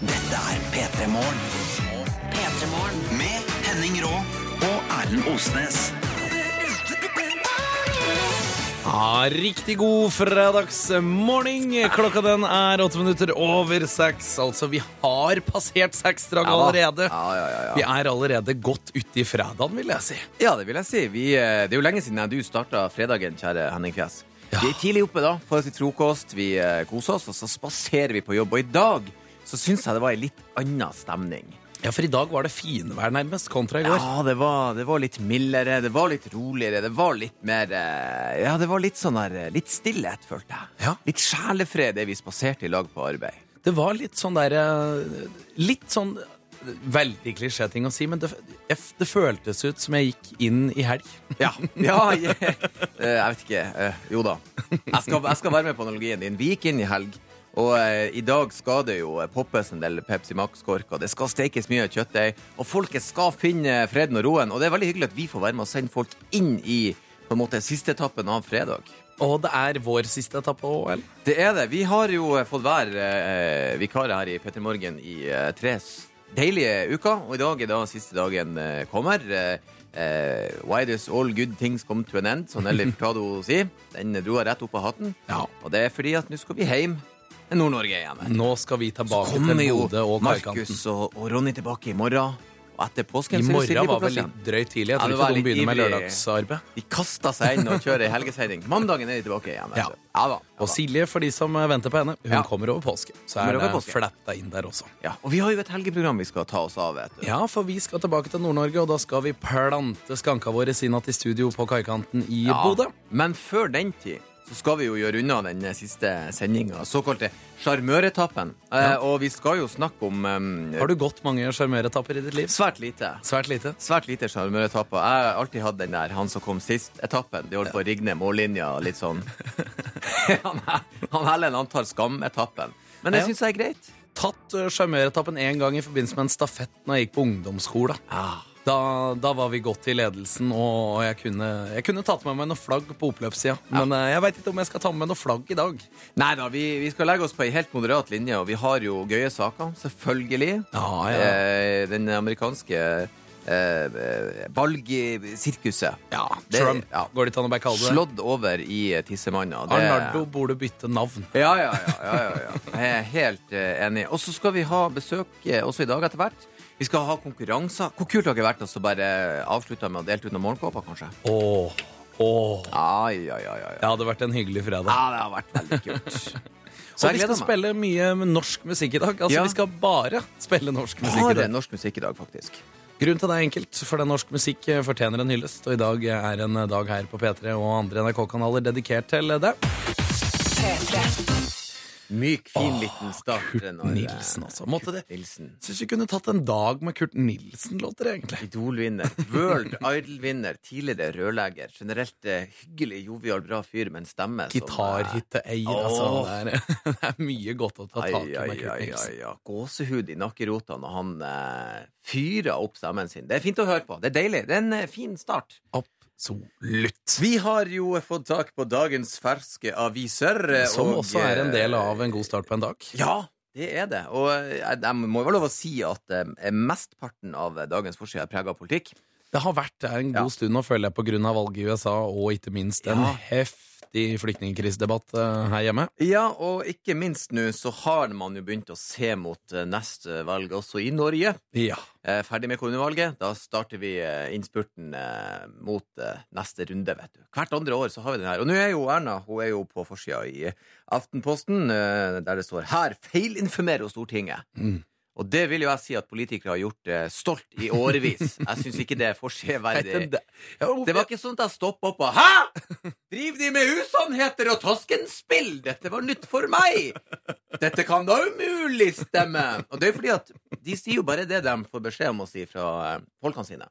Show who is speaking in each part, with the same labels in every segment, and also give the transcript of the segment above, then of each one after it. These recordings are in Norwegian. Speaker 1: Dette er P3 Morgen. Med Henning Rå og Erlend Osnes.
Speaker 2: Ja, Ah, riktig god fredagsmorgen. Klokka den er åtte minutter over seks. Altså, vi har passert seksdraget allerede.
Speaker 3: Ja, ja, ja, ja.
Speaker 2: Vi er allerede godt uti fredagen, vil jeg si.
Speaker 3: Ja, det vil jeg si. Vi, eh, det er jo lenge siden jeg- du starta fredagen, kjære Henning Fjes. Vi er tidlig oppe da, får oss litt frokost, vi eh, koser oss, og så spaserer vi på jobb. Og i dag så syns jeg det var ei litt anna stemning.
Speaker 2: Ja, for i dag var det finvær nærmest, kontra i går.
Speaker 3: Ja, det var, det var litt mildere, det var litt roligere, det var litt mer eh, Ja, det var litt sånn her eh, Litt stillhet, følte jeg.
Speaker 2: Ja.
Speaker 3: Litt sjelefred det vi spaserte i lag på arbeid.
Speaker 2: Det var litt sånn derre Litt sånn eh, veldig klisjéting å si, men det, jeg, det føltes ut som jeg gikk inn i helg.
Speaker 3: Ja. ja jeg, eh, jeg vet ikke. eh, jo da. Jeg skal, jeg skal være med på analogien din. Vi gikk inn i helg, og eh, i dag skal det jo eh, poppes en del Pepsi Max-kork, og det skal stekes mye kjøttdeig, og folket skal finne freden og roen. Og det er veldig hyggelig at vi får være med og sende folk inn i på en måte siste etappen av fredag.
Speaker 2: Og det er vår siste etappe òg, eller?
Speaker 3: Det er det. Vi har jo eh, fått være eh, vikarer her i Petter Morgen i eh, tre s- deilige uker, og i dag er da siste dagen eh, kommer. Eh, eh, why does all good things come to an end, som Nelly Furtado sier. Den dro jeg rett opp av hatten.
Speaker 2: Ja.
Speaker 3: Og det er fordi at nå skal vi hjem til Nord-Norge igjen.
Speaker 2: Nå skal vi tilbake til
Speaker 3: Kommer jo
Speaker 2: Bodø og Markus.
Speaker 3: Markus og, og Ronny tilbake i morgen. Og etter
Speaker 2: I
Speaker 3: påsken så er
Speaker 2: morgen
Speaker 3: Silje på
Speaker 2: var
Speaker 3: plass
Speaker 2: vel
Speaker 3: igjen.
Speaker 2: litt drøyt tidlig. Jeg
Speaker 3: Ja,
Speaker 2: tror
Speaker 3: det
Speaker 2: ikke
Speaker 3: var
Speaker 2: de
Speaker 3: litt
Speaker 2: begynner med
Speaker 3: ivrig.
Speaker 2: lørdagsarbeid.
Speaker 3: De kasta seg inn og kjører ei helgeseiling. Mandagen er de tilbake igjen. vet
Speaker 2: Ja.
Speaker 3: du. Ja, da, ja,
Speaker 2: Og
Speaker 3: da.
Speaker 2: Silje, for de som venter på henne, hun
Speaker 3: Ja.
Speaker 2: kommer over påske. Så
Speaker 3: Kommer
Speaker 2: er det
Speaker 3: over påske.
Speaker 2: fletta inn der også.
Speaker 3: Ja, og vi har jo et helgeprogram vi skal ta oss av. vet du.
Speaker 2: Ja, for vi skal tilbake til Nord-Norge, og da skal vi plante skanka våre sinna til studio på kaikanten i Bodø.
Speaker 3: Men før den tid så skal vi jo gjøre unna den eh, siste sendinga, såkalte sjarmøretappen. Eh, og vi skal jo snakke om eh,
Speaker 2: Har du gått mange sjarmøretapper i ditt liv?
Speaker 3: svært lite.
Speaker 2: Svært lite.
Speaker 3: Svært lite sjarmøretapper. Jeg har alltid hatt den der han som kom sist-etappen. De holdt på å rigge ned mållinja og litt sånn. han han Helen han tar skametappen. Men det
Speaker 2: Ja.
Speaker 3: syns jeg er greit.
Speaker 2: Tatt eh, sjarmøretappen én gang i forbindelse med en stafett når jeg gikk på ungdomsskolen. Da, da var vi godt i ledelsen, og jeg kunne, jeg kunne tatt med meg noe flagg på oppløpssida. Men eh, jeg veit ikke om jeg skal ta med meg noe flagg i dag.
Speaker 3: Nei da, vi, vi skal legge oss på ei helt moderat linje, og vi har jo gøye saker, selvfølgelig.
Speaker 2: Ja, ja.
Speaker 3: Eh, den amerikanske eh, valgsirkuset.
Speaker 2: Ja,
Speaker 3: det-
Speaker 2: Trump.
Speaker 3: ja.
Speaker 2: Går det ikke an å bare kalle det det?
Speaker 3: Slått eh, over i tissemanna. Det-
Speaker 2: Arnardo burde bytte navn.
Speaker 3: Ja, ja, ja. ja, ja, ja. Jeg er helt eh, enig. Og så skal vi ha besøk eh, også i dag etter hvert. Vi skal ha konkurranser. Hvor kult har det vært å så bare avslutte med å dele ut noen morgenkåper, kanskje?
Speaker 2: Åh, åh.
Speaker 3: Ai, ai, ai, ai.
Speaker 2: Det hadde vært en hyggelig fredag.
Speaker 3: Ja, det har vært veldig kult.
Speaker 2: Så
Speaker 3: jeg
Speaker 2: vi skal
Speaker 3: gleder meg.
Speaker 2: spille mye norsk musikk i dag. Altså,
Speaker 3: Ja.
Speaker 2: Vi skal bare spille norsk musikk i
Speaker 3: Har
Speaker 2: dag.
Speaker 3: norsk musikk i dag, faktisk?
Speaker 2: Grunnen til det er enkelt, for den norsk musikk eh, fortjener en hyllest. Og i dag er en eh, dag her på P3 og andre NRK-kanaler dedikert til det.
Speaker 3: Myk, fin liten start. eh, Kurt
Speaker 2: Nilsen, altså. Måtte det
Speaker 3: Nilsen.
Speaker 2: Syns vi kunne tatt en dag med Kurt Nilsen-låter, egentlig.
Speaker 3: Idol-vinner. World Idol-vinner. Tidligere rørlegger. Generelt eh, hyggelig, jovial, bra fyr med en stemme som, eh,
Speaker 2: Gitarhytteeier,
Speaker 3: Åh.
Speaker 2: altså. Det er, det er mye godt å ta
Speaker 3: Ai,
Speaker 2: tak i
Speaker 3: ai,
Speaker 2: med Kurt
Speaker 3: ai,
Speaker 2: Nilsen.
Speaker 3: ai, ai. Gåsehud i nakkerota når han eh, fyrer opp stemmen sin. Det er fint å høre på. Det er deilig. Det er en eh, fin start.
Speaker 2: Absolutt.
Speaker 3: Vi har jo fått tak på dagens ferske aviser. eh,
Speaker 2: Som
Speaker 3: og,
Speaker 2: også er en del av
Speaker 3: eh,
Speaker 2: en god start på en dag.
Speaker 3: Ja, det er det. Og eh, jeg, jeg må vel lov å si at eh, mestparten av eh, dagens forside er preget av politikk.
Speaker 2: Det har vært det en god
Speaker 3: Ja.
Speaker 2: stund nå, føler jeg, på grunn av valget i USA, og ikke minst en
Speaker 3: Ja.
Speaker 2: heftig flyktningkrisedebatt eh, her hjemme.
Speaker 3: Ja, og ikke minst nå så har man jo begynt å se mot eh, neste valg også i Norge.
Speaker 2: Ja.
Speaker 3: Eh, ferdig med kommunevalget. Da starter vi eh, innspurten eh, mot eh, neste runde, vet du. Hvert andre år så har vi den her. Og nå er jo Erna hun er jo på forsida i Aftenposten, eh, der det står 'Her feilinformerer hun Stortinget'.
Speaker 2: Mm.
Speaker 3: Og det vil jo jeg si at politikere har gjort eh, stolt i årevis. Jeg syns ikke det er forseverdig.
Speaker 2: Det, ja, hvorfor-
Speaker 3: Det var ikke sånn at jeg stoppa opp og Hæ?! Driv de med usannheter og toskenspill?! Dette var nytt for meg! Dette kan da umulig stemme! Og det er fordi at de sier jo bare det de får beskjed om å si fra eh, folkene sine.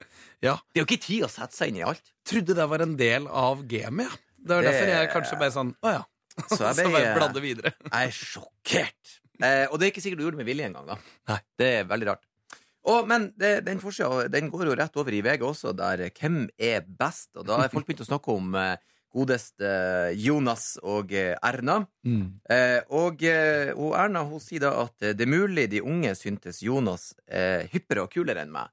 Speaker 2: Ja.
Speaker 3: Det er jo ikke tid å sette seg inn i alt.
Speaker 2: trodde det var en del av gamet, ja. Det var
Speaker 3: Det-
Speaker 2: derfor jeg kanskje bare sånn Å ja.
Speaker 3: Så jeg,
Speaker 2: Så
Speaker 3: ble,
Speaker 2: bare
Speaker 3: eh,
Speaker 2: bladde videre.
Speaker 3: jeg er sjokkert. Eh, og det er ikke sikkert du gjorde det med vilje engang, da.
Speaker 2: Nei.
Speaker 3: Det er veldig rart. Og, men det, den forsida den går jo rett over i VG også, der eh, 'Hvem er best?' Og da har folk begynt å snakke om eh, godeste eh, Jonas og eh, Erna. Eh, og, eh, og Erna hun sier da at eh, det er mulig de unge syntes Jonas eh, hyppere og kulere enn meg.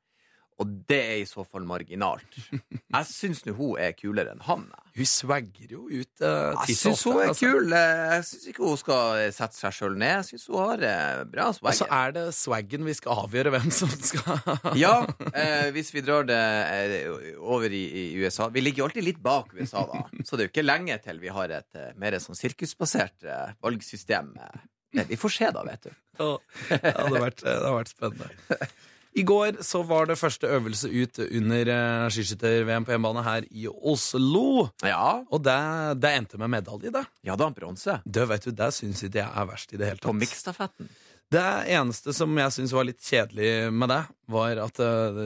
Speaker 3: Og det er i så fall marginalt. Jeg syns nå hun er kulere enn han. jeg.
Speaker 2: Hun swagger jo ut uh,
Speaker 3: Jeg syns hun er kul. eh, Jeg syns ikke hun skal eh, sette seg sjøl ned. Jeg syns hun har eh, bra
Speaker 2: Og så
Speaker 3: swagger.
Speaker 2: Altså, er det swaggen vi skal avgjøre hvem som skal
Speaker 3: Ja, eh, hvis vi drar det eh, over i, i USA Vi ligger jo alltid litt bak USA, da. Så det er jo ikke lenge til vi har et eh, mer sånn sirkusbasert eh, valgsystem. eh. Vi får se, da, vet du.
Speaker 2: Ja, det, hadde vært, det hadde vært spennende. I går så var det første øvelse ut under eh, skiskytter-VM på hjemmebane her i Oslo.
Speaker 3: Ja,
Speaker 2: Og det, det endte med medalje, det.
Speaker 3: ja da, bronse.
Speaker 2: Det vet du, det syns ikke jeg er verst i det hele
Speaker 3: På
Speaker 2: tatt.
Speaker 3: miksstafetten.
Speaker 2: Det eneste som jeg syns var litt kjedelig med det, var at eh,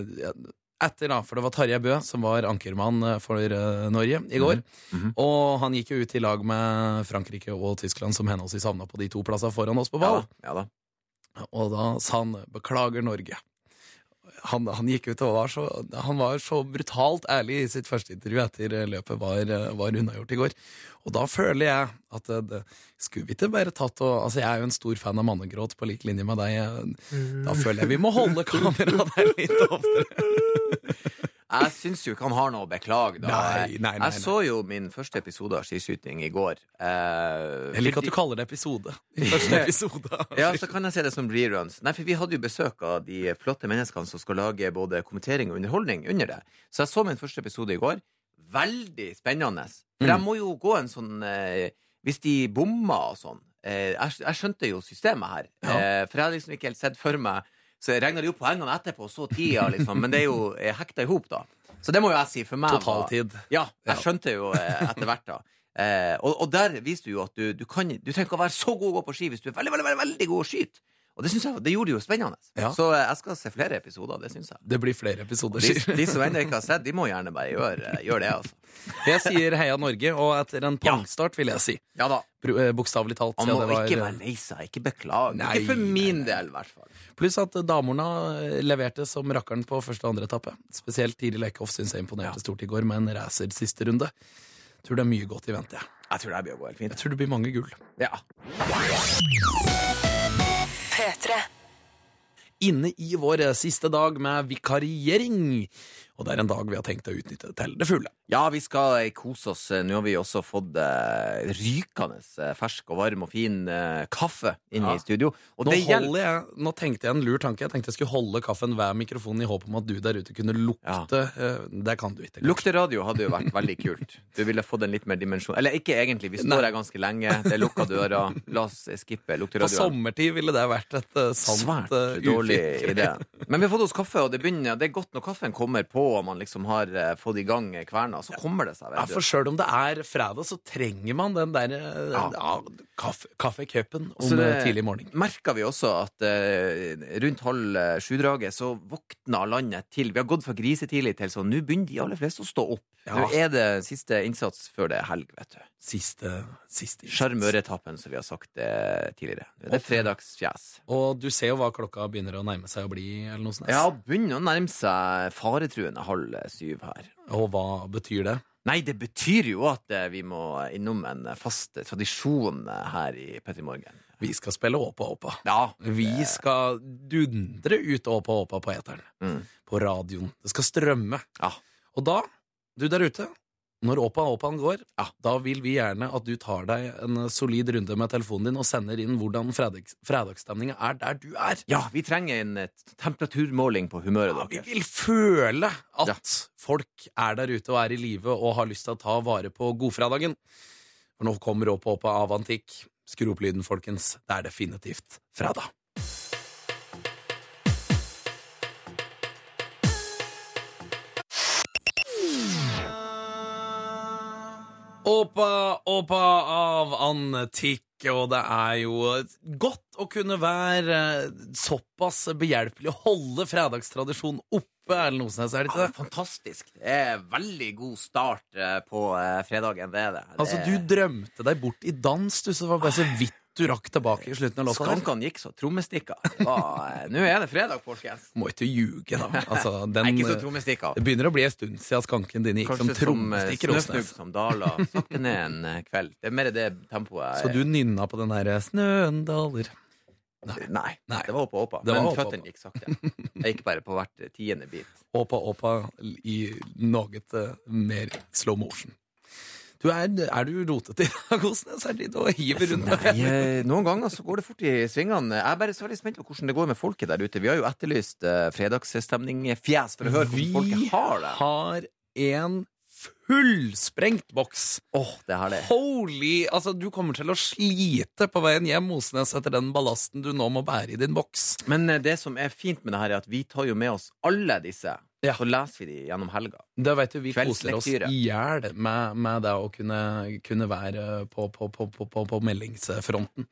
Speaker 2: etter da, for det var Tarjei Bø som var ankermann eh, for eh, Norge i går. Og han gikk jo ut i lag med Frankrike og Tyskland, som henholdsvis havna på de to plassene foran oss på
Speaker 3: Ja,
Speaker 2: ball.
Speaker 3: da, ja da.
Speaker 2: Og da sa han 'beklager Norge'. Han, han gikk ut og var så, han var så brutalt ærlig i sitt første intervju etter løpet var, var unnagjort i går. Og da føler jeg at det, det, skulle vi ikke bare tatt og Altså, jeg er jo en stor fan av mannegråt på lik linje med deg. eh, Da føler jeg vi må holde kameraet der litt oftere.
Speaker 3: Jeg syns jo ikke han har noe å beklage, da.
Speaker 2: Nei, nei, nei,
Speaker 3: jeg så jo min første episode av skiskyting i går. Eh,
Speaker 2: Jeg liker at
Speaker 3: fordi-
Speaker 2: du kaller det episode. Din første episode.
Speaker 3: ja, så kan jeg se det som reruns. Nei, for vi hadde jo besøk av de flotte menneskene som skal lage både kommentering og underholdning under det. Så jeg så min første episode i går. Veldig spennende. For
Speaker 2: Mm.
Speaker 3: jeg må jo gå en sånn eh, Hvis de bomma og sånn eh, jeg, skj- jeg skjønte jo systemet her.
Speaker 2: Ja.
Speaker 3: Eh, for jeg hadde liksom ikke helt sett for meg Så jeg regna jo poengene etterpå, så tida, liksom. Men det er jo eh, hekta i hop, da. Så det må jo jeg si for meg. var-
Speaker 2: Totaltid.
Speaker 3: ja,
Speaker 2: Ja.
Speaker 3: jeg skjønte jo eh, etter hvert da. Eh, og, og der viste du jo at du, du, kan, du trenger ikke å være så god å gå på ski hvis du er veldig, veldig, veldig, veldig god å skyte. Og det synes jeg, det gjorde det jo spennende.
Speaker 2: Ja.
Speaker 3: Så eh, jeg skal se flere episoder, det synes jeg.
Speaker 2: Det blir flere episoder.
Speaker 3: De,
Speaker 2: sier du.
Speaker 3: de som ennå ikke har sett, de må gjerne bare gjøre, eh, gjøre det, altså.
Speaker 2: Jeg sier heia Norge, og etter en pangstart, vil jeg si.
Speaker 3: Ja da.
Speaker 2: Bru- eh, Bokstavelig talt.
Speaker 3: Man
Speaker 2: siden
Speaker 3: må
Speaker 2: det var-
Speaker 3: ikke være lei seg, ikke beklage.
Speaker 2: Nei,
Speaker 3: ikke for
Speaker 2: nei,
Speaker 3: min del, i hvert fall.
Speaker 2: Pluss at damorna eh, leverte som rakkeren på første og andre etappe. Spesielt Tiril Eckhoff syns jeg imponerte stort i går med en racer siste runde. Tror det er mye godt i vente. jeg.
Speaker 3: Jeg tror det her blir å gå helt
Speaker 2: Jeg
Speaker 3: fint.
Speaker 2: tror det blir mange gull.
Speaker 3: Ja.
Speaker 4: P3.
Speaker 2: Inne i vår eh, siste dag med vikariering. Og det er en dag vi har tenkt å utnytte til det fulle.
Speaker 3: Ja, vi skal eh, kose oss. Nå har vi også fått eh, rykende eh, fersk og varm og fin eh, kaffe inne
Speaker 2: Ja.
Speaker 3: i studio. Og
Speaker 2: Nå,
Speaker 3: det gjelder
Speaker 2: holder jeg, nå tenkte jeg en lur tanke. Jeg tenkte jeg skulle holde kaffen hver mikrofon i håp om at du der ute kunne lukte. eh, Det kan du ikke.
Speaker 3: Lukteradio hadde jo vært veldig kult. Du ville fått en litt mer dimensjon. Eller ikke egentlig, vi står her ganske lenge. Det er lukka dører. La oss eh, skippe
Speaker 2: På
Speaker 3: lukteradioen.
Speaker 2: sommertid ville det vært et eh, sant
Speaker 3: Svært
Speaker 2: eh,
Speaker 3: dårlig
Speaker 2: utfylt.
Speaker 3: idé. Men vi har fått oss kaffe, og det, begynner, det er godt når kaffen kommer på og man liksom har eh, fått i gang kverna. Så kommer det seg.
Speaker 2: Ja,
Speaker 3: Vet
Speaker 2: for
Speaker 3: du.
Speaker 2: sjøl om det er fredag, så trenger man den der eh,
Speaker 3: Ja.
Speaker 2: ja, kaffe, kaffecupen om
Speaker 3: Så det-
Speaker 2: eh, tidlig morgen.
Speaker 3: Merka vi også at eh, rundt halv eh, sju-draget så våkna landet til. Vi har gått fra grisetidlig til sånn nå begynner de aller fleste å stå opp.
Speaker 2: Ja.
Speaker 3: Nå er det siste innsats før det er helg, vet du.
Speaker 2: Siste, siste innsats.
Speaker 3: Sjarmøretappen, som vi har sagt eh, tidligere. Nå er det fredagsfjes.
Speaker 2: Og du ser jo hva klokka begynner å nærme seg å bli, eller noe sånt.
Speaker 3: Ja, begynner å nærme seg faretruende halv eh, syv her.
Speaker 2: Og hva betyr det?
Speaker 3: Nei, det betyr jo at eh, vi må innom en fast tradisjon eh, her i Petter Morgen.
Speaker 2: Vi skal spille Åpa Åpa.
Speaker 3: Ja.
Speaker 2: Vi skal dundre ut Åpa Åpa på eteren.
Speaker 3: Mm.
Speaker 2: På radioen. Det skal strømme.
Speaker 3: Ja.
Speaker 2: Og da, du der ute, når Åpa Åpaen går, da vil vi gjerne at du tar deg en solid runde med telefonen din og sender inn hvordan fredags, fredagsstemninga er der du er.
Speaker 3: ja, vi trenger en eh, temperaturmåling på humøret
Speaker 2: Ja, vi
Speaker 3: deres.
Speaker 2: vil føle at
Speaker 3: Ja.
Speaker 2: folk er der ute og er i live og har lyst til å ta vare på godfredagen. For nå kommer opp opp av antikk. Skru opp lyden, folkens. Det er definitivt fredag. Åpa, åpa av antikk, og det er jo godt å kunne være eh, såpass behjelpelig å holde fredagstradisjonen oppe, Erlend Osnes, er det
Speaker 3: Ja,
Speaker 2: ikke
Speaker 3: det er
Speaker 2: det?
Speaker 3: fantastisk. Det er veldig god start eh, på eh, fredagen, det er det. Det
Speaker 2: Altså,
Speaker 3: er-
Speaker 2: du drømte deg bort i dans, du, så det var bare så vidt du rakk tilbake i slutten av låta. der.
Speaker 3: Skankene gikk så trommestikka. Det var- eh, Nå er det fredag, folkens.
Speaker 2: Må ikke ljuge, da. Altså, den,
Speaker 3: Nei, ikke så
Speaker 2: eh,
Speaker 3: trommestikka.
Speaker 2: det begynner å bli en stund siden skanken din gikk som
Speaker 3: Kanskje som eh,
Speaker 2: trommestikker. altså.
Speaker 3: snøfnugg
Speaker 2: Åsnes.
Speaker 3: som daler sakte ned en eh, kveld. Det er mer det tempoet.
Speaker 2: Så du nynna på den der 'Snøen daler'.
Speaker 3: Nei.
Speaker 2: Nei.
Speaker 3: Det var oppe åpa.
Speaker 2: Det var
Speaker 3: Men
Speaker 2: oppe,
Speaker 3: føttene gikk sakte. Jeg gikk bare på hvert tiende bit.
Speaker 2: Åpa åpa i noe eh, mer slow motion. Du er, er du rotete i dag, Osnes? Er det du hiver rundt deg?
Speaker 3: Jeg, noen ganger så går det fort i svingene. Jeg er bare så veldig spent på hvordan det går med folket der ute. Vi har jo etterlyst eh, fredagsstemning-fjes for å høre
Speaker 2: Vi
Speaker 3: hvordan folket har det.
Speaker 2: har en fullsprengt boks.
Speaker 3: Åh, det er herlig.
Speaker 2: Holy! Altså, du kommer til å slite på veien hjem, Osnes, etter den ballasten du nå må bære i din boks.
Speaker 3: Men eh, det som er fint med det her, er at vi tar jo med oss alle disse.
Speaker 2: Ja.
Speaker 3: Så leser vi de gjennom helga.
Speaker 2: Da vet du, vi koser oss i
Speaker 3: Kveldslektyre.
Speaker 2: hjel med, med det å kunne, kunne være på, på, på, på, på, på meldingsfronten.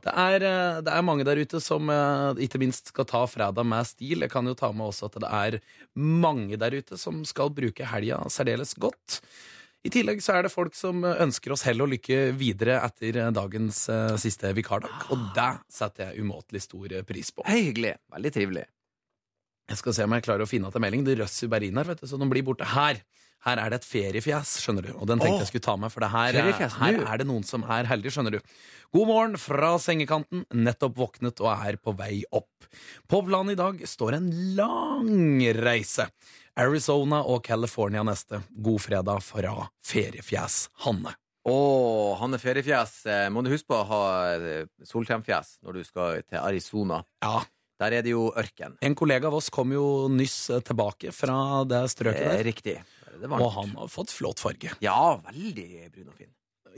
Speaker 2: Det er, eh, det er mange der ute som eh, ikke minst skal ta fredag med stil. Jeg kan jo ta med også at det er mange der ute som skal bruke helga særdeles godt. I tillegg så er det folk som ønsker oss hell og lykke videre etter eh, dagens eh, siste vikardag, og det setter jeg umåtelig stor eh, pris på.
Speaker 3: Hei, hyggelig. Veldig trivelig.
Speaker 2: Jeg skal se om jeg klarer å finne at en melding. Det røsser bare inn her, vet du, så den blir borte. Her her er det et feriefjes, skjønner du. Og den tenkte
Speaker 3: Åh,
Speaker 2: jeg skulle ta med, for det her, er-
Speaker 3: feriefjes,
Speaker 2: her
Speaker 3: du.
Speaker 2: er det noen som er heldige, skjønner du. God morgen fra sengekanten. Nettopp våknet og er på vei opp. På planen i dag står en lang reise. Arizona og California neste. God fredag fra feriefjes Hanne.
Speaker 3: Å, Hanne Feriefjes, eh, må du huske på å ha eh, solkremfjes når du skal til Arizona.
Speaker 2: Ja,
Speaker 3: Der er det jo ørken.
Speaker 2: En kollega av oss kom jo nyss eh, tilbake fra det
Speaker 3: Det
Speaker 2: strøket
Speaker 3: er
Speaker 2: der,
Speaker 3: Eh, riktig. Der er Det varmt.
Speaker 2: og han har fått flott farge.
Speaker 3: Ja, veldig brun og fin.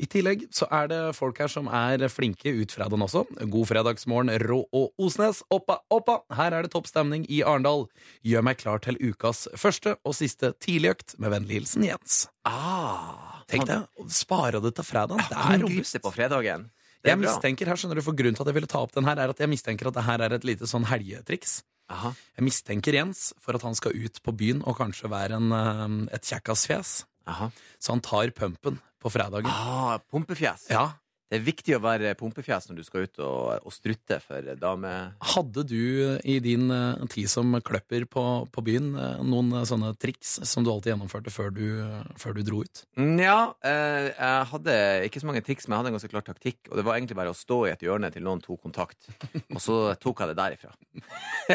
Speaker 2: I tillegg så er det folk her som er flinke ut fra den også. God fredagsmorgen, Rå og Osnes. Oppa, oppa! Her er det topp stemning i Arendal. Gjør meg klar til ukas første og siste tidligøkt. Med vennlig hilsen Jens.
Speaker 3: Ah,
Speaker 2: Tenk deg, spare det til fredag. Det
Speaker 3: Han
Speaker 2: er
Speaker 3: griper
Speaker 2: robust.
Speaker 3: seg på fredagen. Det
Speaker 2: Jeg
Speaker 3: er bra.
Speaker 2: mistenker her, skjønner du, for grunnen til at jeg ville ta opp den her, er at jeg mistenker at det her er et lite sånn helgetriks.
Speaker 3: Aha.
Speaker 2: Jeg mistenker Jens for at han skal ut på byen og kanskje være en, eh, et kjekkasfjes.
Speaker 3: Aha.
Speaker 2: Så han tar pumpen på fredagen.
Speaker 3: Ah, pumpefjes.
Speaker 2: Ja,
Speaker 3: Det er viktig å være pumpefjes når du skal ut og, og strutte for dame...
Speaker 2: Hadde du i din eh, tid som kløpper på, på byen eh, noen eh, sånne triks som du alltid gjennomførte før du, eh, før du dro ut?
Speaker 3: Nja, eh, jeg hadde ikke så mange triks, men jeg hadde en ganske klar taktikk. Og det var egentlig bare å stå i et hjørne til noen tok kontakt. Og så tok jeg det derifra.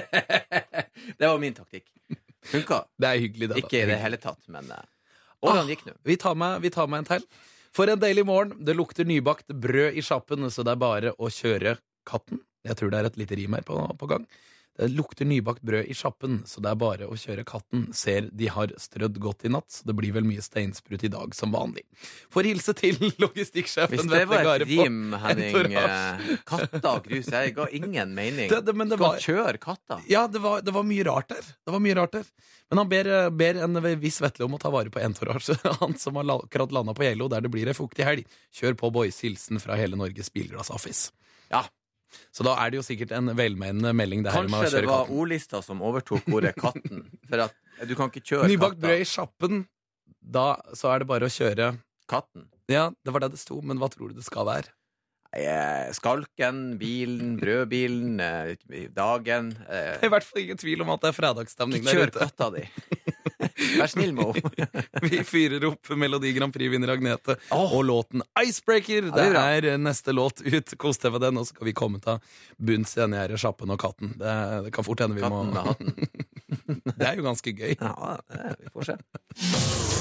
Speaker 3: det var min taktikk. Funka.
Speaker 2: Det er hyggelig, det. da.
Speaker 3: Ikke i det hele tatt, men eh, Hvordan gikk nå?
Speaker 2: Vi tar med, vi tar med en til. For en deilig morgen. Det lukter nybakt brød i sjappen, så det er bare å kjøre katten. Jeg tror det er et lite rim her på, på gang. Det lukter nybakt brød i sjappen, så det er bare å kjøre katten. Ser de har strødd godt i natt, så det blir vel mye steinsprut i dag som vanlig. Får hilse til logistikksjefen
Speaker 3: Hvis det
Speaker 2: Vetle
Speaker 3: var et
Speaker 2: Garebo.
Speaker 3: rim, Henning eh, Katter og grus, jeg ga ingen mening.
Speaker 2: Det- det- men det
Speaker 3: Skal
Speaker 2: var-
Speaker 3: kjøre katter?
Speaker 2: Ja, det var, det var mye rart der. Det var mye rart der. Men han ber, ber en viss Vetle om å ta vare på entourage. Han som har la- akkurat landa på Geilo, der det blir ei fuktig helg. Kjør på, boys. Hilsen fra hele Norges Bilglassaffice.
Speaker 3: Ja.
Speaker 2: Så da er det jo sikkert en velmenende melding det her med å
Speaker 3: Kanskje det
Speaker 2: kjøre
Speaker 3: var
Speaker 2: katten.
Speaker 3: ordlista som overtok ordet katten. For at eh, du kan ikke kjøre
Speaker 2: Nybakt brød
Speaker 3: katter.
Speaker 2: i sjappen. Da så er det bare å kjøre
Speaker 3: Katten.
Speaker 2: Ja, det var det det sto, men hva tror du det skal være?
Speaker 3: Eh, Skalken, bilen, brødbilen, eh, dagen eh,
Speaker 2: Det er I hvert fall ingen tvil om at det er fredagsstemning der
Speaker 3: Ikke kjør
Speaker 2: ute.
Speaker 3: katta di. Vær snill med henne.
Speaker 2: Vi fyrer opp Melodi Grand Prix-vinner Agnete
Speaker 3: Åh.
Speaker 2: og låten Icebreaker.
Speaker 3: det
Speaker 2: det,
Speaker 3: er bra.
Speaker 2: er eh, neste låt ut. Kos deg med den, og så skal vi komme til bunns i denne her sjappen og katten. Det, det kan fort hende vi
Speaker 3: Katten
Speaker 2: må
Speaker 3: med hatten.
Speaker 2: Det er jo ganske gøy.
Speaker 3: Ja, eh, vi får se.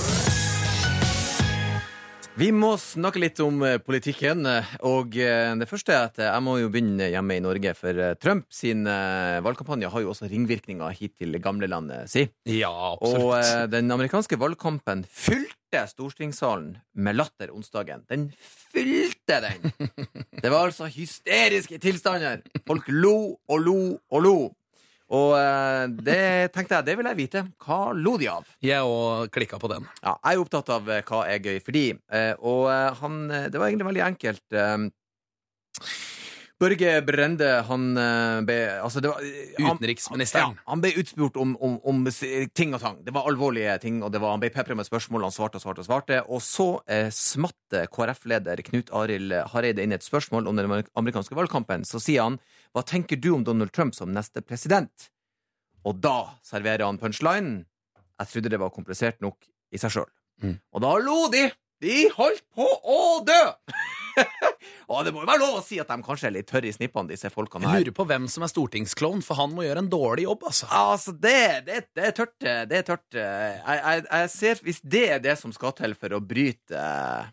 Speaker 3: Vi må snakke litt om eh, politikken, eh, og eh, det første er at eh, jeg må jo begynne hjemme i Norge, for eh, Trump sin eh, valgkampanje har jo også ringvirkninger hit til gamlelandet si.
Speaker 2: Ja,
Speaker 3: Og
Speaker 2: absolutt.
Speaker 3: eh, den amerikanske valgkampen fylte stortingssalen med latter onsdagen. Den fylte den! Det var altså hysteriske tilstander. Folk lo og lo og lo. Og eh, det tenkte jeg, det vil jeg vite. Hva lo de av?
Speaker 2: Jeg òg klikka på den.
Speaker 3: Ja, jeg er jo opptatt av eh, hva er gøy for de. eh, Og eh, han, eh, det var egentlig veldig enkelt. eh, Børge Brende, han eh, ble altså det var, han-
Speaker 2: Utenriksministeren.
Speaker 3: Ja, han ble utspurt om, om, om s- ting og tang. Det var alvorlige ting, og det var, han ble pepret med spørsmål, han svarte og svarte og svarte. Og så eh, smatte KrF-leder Knut Arild Hareide inn et spørsmål om den amer- amerikanske valgkampen. Så sier han Hva tenker du om Donald Trump som neste president? Og da serverer han punchlinen. Jeg trodde det var komplisert nok i seg sjøl.
Speaker 2: Mm.
Speaker 3: Og da lo de! De holdt på å dø! og det må jo være lov å si at de kanskje er litt tørre i snippene, disse folkene
Speaker 2: Jeg
Speaker 3: her.
Speaker 2: lurer på hvem som er stortingsklovn, for han må gjøre en dårlig jobb, altså.
Speaker 3: Altså, det, det, det er tørt. eh, Det er tørt. Jeg, jeg, jeg ser Hvis det er det som skal til for å bryte eh,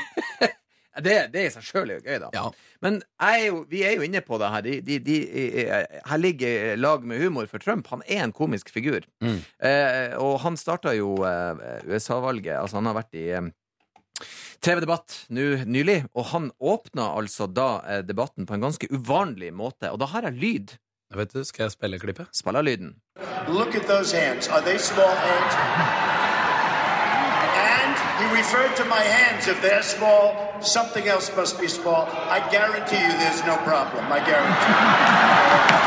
Speaker 3: det, det i seg sjøl er jo gøy, da.
Speaker 2: Ja.
Speaker 3: Men jeg er jo, vi er jo inne på det her. De, de, de, eh, her ligger lag med humor for Trump. Han er en komisk figur.
Speaker 2: Mm.
Speaker 3: Eh, og han starta jo eh, USA-valget. Altså, han har vært i eh, TV-debatt nå nylig, og han åpna altså da eh, debatten på en ganske uvanlig måte. Og da har jeg lyd.
Speaker 2: Vet du, Skal jeg spille klippet?
Speaker 3: Spiller lyden.
Speaker 4: Look at those hands. Are they small hands? And he referred to my hands. If they're small, something else must be small. I guarantee you there's no problem. I guarantee.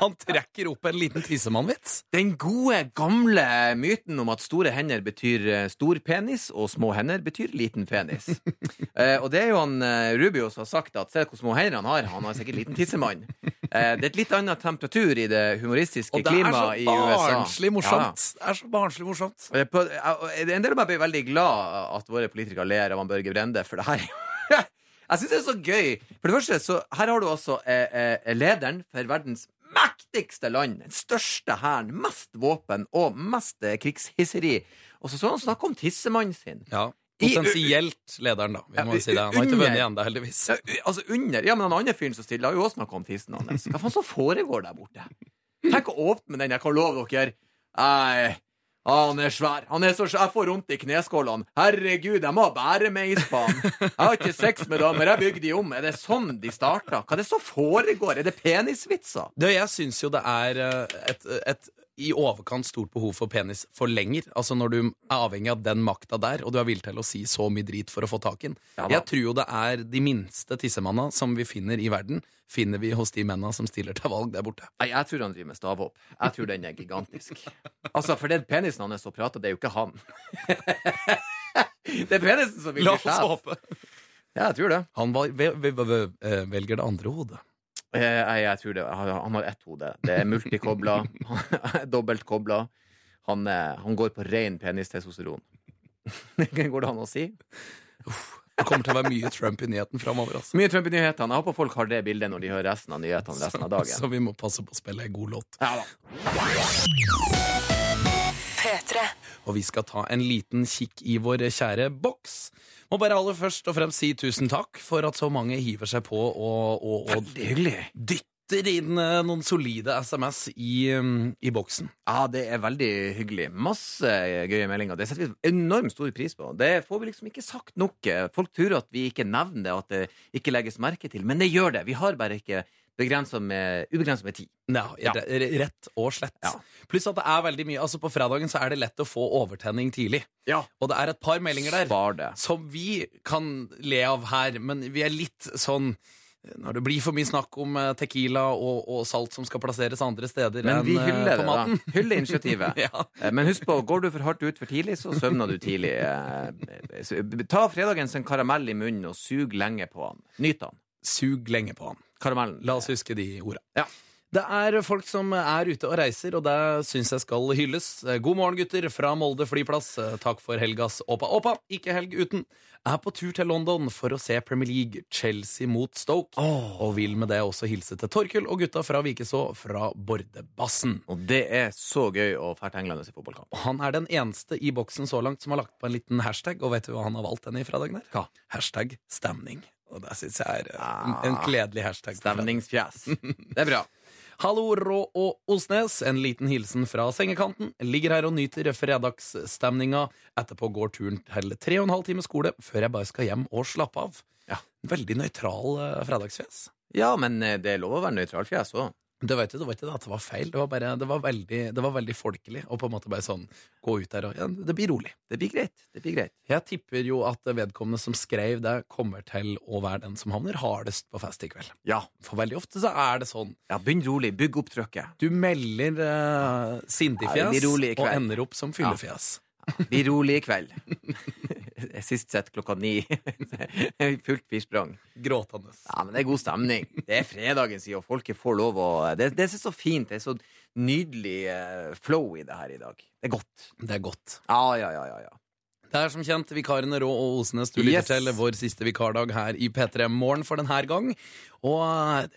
Speaker 2: Han trekker opp en liten tissemannvits.
Speaker 3: Den gode, gamle myten om at store hender betyr eh, stor penis, og små hender betyr liten penis. eh, og det er jo han eh, Rubio som har sagt at se hvor små hender han har. Han har sikkert liten tissemann. Eh, det er et litt annet temperatur i det humoristiske
Speaker 2: Og det er så
Speaker 3: klimaet i USA.
Speaker 2: barnslig
Speaker 3: Ja.
Speaker 2: morsomt. Det er så barnslig morsomt.
Speaker 3: Eh, På, eh, en del av meg blir veldig glad at våre politikere ler av han Børge Brende, for det her Jeg syns det er så gøy. For det første, så her har du altså eh, eh, lederen for verdens mektigste land, den største hæren, mest våpen og mest eh, krigshisseri. Og så så han snakke om tissemannen sin.
Speaker 2: Ja.
Speaker 3: I-
Speaker 2: Potensielt lederen, da. Vi
Speaker 3: Ja,
Speaker 2: må jo si det. Han har ikke
Speaker 3: under-
Speaker 2: vunnet ennå, heldigvis.
Speaker 3: Ja, u- altså under, ja, men han andre fyren som stiller, har jo også snakka om tissen hans. Hva faen som foregår der borte? Tenk å åpne den, jeg kan love dere. Nei, han er svær. Han er så svær. Jeg får vondt i kneskålene. Herregud, jeg må bære meis på han. Jeg har ikke sex med damer, jeg bygger de om. Er det sånn de starta? Hva er det som foregår? Er det penisvitser?
Speaker 2: Du, jeg syns jo det er eh, et, et i overkant stort behov for penis for lenger. Altså når du er avhengig av den makta der, og du er villig til å si så mye drit for å få tak i den.
Speaker 3: Ja da.
Speaker 2: jeg tror jo det er de minste tissemanna som vi finner i verden, finner vi hos de menna som stiller til valg der borte.
Speaker 3: Nei, jeg tror han driver med stavhopp. Jeg tror den er gigantisk. Altså, for den penisen hans som prater, det er jo ikke han. Det er penisen som vil bli sjef.
Speaker 2: håpe.
Speaker 3: Ja, jeg tror det.
Speaker 2: Han val- ve- ve- ve- eh, velger det andre hodet.
Speaker 3: Eh, Nei, jeg tror det. Han han har ett hode. Det er multikobla. Dobbeltkobla. Han, eh, han går på ren penistestosteron. går det an å si?
Speaker 2: Det kommer til å være mye Trump i nyheten framover, altså.
Speaker 3: Mye Trump i nyhetene. Jeg håper folk har det bildet når de hører resten av nyhetene resten av dagen.
Speaker 2: Så vi må passe på å spille en god låt.
Speaker 3: Ja da.
Speaker 5: P3.
Speaker 2: Og vi skal ta en liten kikk i vår kjære boks. Må bare aller først og fremst si tusen takk for at så mange hiver seg på og, og, og
Speaker 3: hyggelig.
Speaker 2: dytter inn eh, noen solide SMS i, um, i boksen.
Speaker 3: Ja, det er veldig hyggelig. Masse eh, gøye meldinger. Det setter vi enormt stor pris på. Det får vi liksom ikke sagt nok. Folk tror at vi ikke nevner det, og at det ikke legges merke til, men det gjør det. Vi har bare ikke begrenset med, ubegrenset med tid.
Speaker 2: Ja,
Speaker 3: Ja.
Speaker 2: re- re- Rett og slett.
Speaker 3: Ja.
Speaker 2: Pluss at det er veldig mye. Altså På fredagen så er det lett å få overtenning tidlig.
Speaker 3: Ja.
Speaker 2: Og det er et par meldinger der
Speaker 3: Spar det.
Speaker 2: som vi kan le av her, men vi er litt sånn når det blir for mye snakk om eh, tequila og, og salt som skal plasseres andre steder
Speaker 3: Men vi
Speaker 2: enn eh,
Speaker 3: hyller det,
Speaker 2: på
Speaker 3: da.
Speaker 2: maten.
Speaker 3: Hyller initiativet.
Speaker 2: Ja.
Speaker 3: Eh, Men husk på, går du for hardt ut for tidlig, så søvner du tidlig. Eh, så Ta fredagens en karamell i munnen og sug lenge på den. Nyt den.
Speaker 2: Sug lenge på han.
Speaker 3: Karamellen.
Speaker 2: La oss huske de orda.
Speaker 3: Ja.
Speaker 2: Det er folk som er ute og reiser, og det syns jeg skal hylles. God morgen, gutter, fra Molde flyplass. Takk for helgas åpa åpa, ikke helg uten. Er på tur til London for å se Premier League, Chelsea mot Stoke. Og vil med det også hilse til Torkil og gutta fra Vikeså fra Bordebassen.
Speaker 3: Og det er så gøy å dra til England og se fotballkamp.
Speaker 2: Og Han er den eneste i boksen så langt som har lagt på en liten hashtag, og vet du hva han har valgt den i fra dagen her?
Speaker 3: Hva?
Speaker 2: Hashtag stemning. Og det syns jeg er eh,
Speaker 3: Ah.
Speaker 2: en gledelig hashtag. på fredag.
Speaker 3: Stemningsfjes. Det er bra.
Speaker 2: Hallo, Rå og Osnes. En liten hilsen fra sengekanten. Ligger her og nyter fredagsstemninga. Etterpå går turen til tre og en halv time skole før jeg bare skal hjem og slappe av.
Speaker 3: Ja.
Speaker 2: Veldig nøytral eh, fredagsfjes.
Speaker 3: Ja, men eh, det er lov å være nøytral fjes òg.
Speaker 2: Det vet du, det var ikke det at det var feil. Det var, bare, det var, veldig, det var veldig folkelig å på en måte bare sånn gå ut der og ja, Det blir rolig.
Speaker 3: Det blir greit. Det blir greit.
Speaker 2: Jeg tipper jo at vedkommende som skrev det, kommer til å være den som havner hardest på fest i kveld.
Speaker 3: Ja.
Speaker 2: For veldig ofte så er det sånn.
Speaker 3: ja begynn rolig. Bygg opp trykket.
Speaker 2: Du melder uh,
Speaker 3: Ja,
Speaker 2: sindefjes
Speaker 3: det blir rolig i
Speaker 2: og
Speaker 3: kveld.
Speaker 2: ender opp som fyllefjes.
Speaker 3: Bli rolig i kveld. Sist sett klokka ni. Fullt firsprang.
Speaker 2: Gråtende.
Speaker 3: Ja, men det er god stemning. Det er fredagen, sier og folket får lov å Det, det er så fint. Det er så nydelig eh, flow i det her i dag. Det er godt.
Speaker 2: Det er godt.
Speaker 3: Ja, ja, ja, ja. ja.
Speaker 2: Det er som kjent vikarene Rå og Osnes du lytter
Speaker 3: Yes.
Speaker 2: til. Vår siste vikardag her i P3 Morgen for denne gang. Og eh,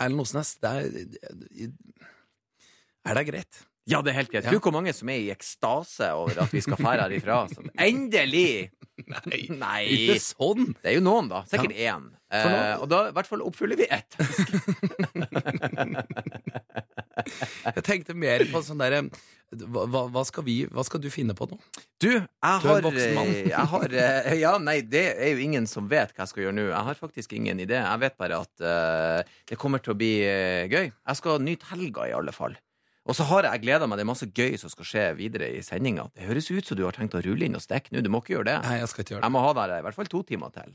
Speaker 2: Erlend Osnes, det er Er det greit?
Speaker 3: Ja, det er helt greit.
Speaker 2: Ja.
Speaker 3: Tror hvor mange som er i ekstase over at vi skal fære herifra. Sånn. Endelig! Nei.
Speaker 2: Ikke sånn!
Speaker 3: Det er jo noen, da. Sikkert én.
Speaker 2: For nå-
Speaker 3: Eh, og da i hvert fall oppfyller vi ett.
Speaker 2: Jeg tenkte mer på sånn derre hva, hva- hva, skal vi- hva skal du finne på nå?
Speaker 3: Du, jeg har
Speaker 2: Du er en voksen mann.
Speaker 3: eh, jeg har, eh, ja, nei, det er jo ingen som vet hva jeg skal gjøre nå. Jeg har faktisk ingen idé. Jeg vet bare at eh, det kommer til å bli eh, gøy. Jeg skal nyte helga, i alle fall. Og så har jeg gleda meg. Det er masse gøy som skal skje videre i sendinga. Det høres ut som du har tenkt å rulle inn og stikke nå. Du må ikke gjøre det.
Speaker 2: Nei, jeg skal ikke gjøre det.
Speaker 3: Jeg må ha deg her i hvert fall to timer til.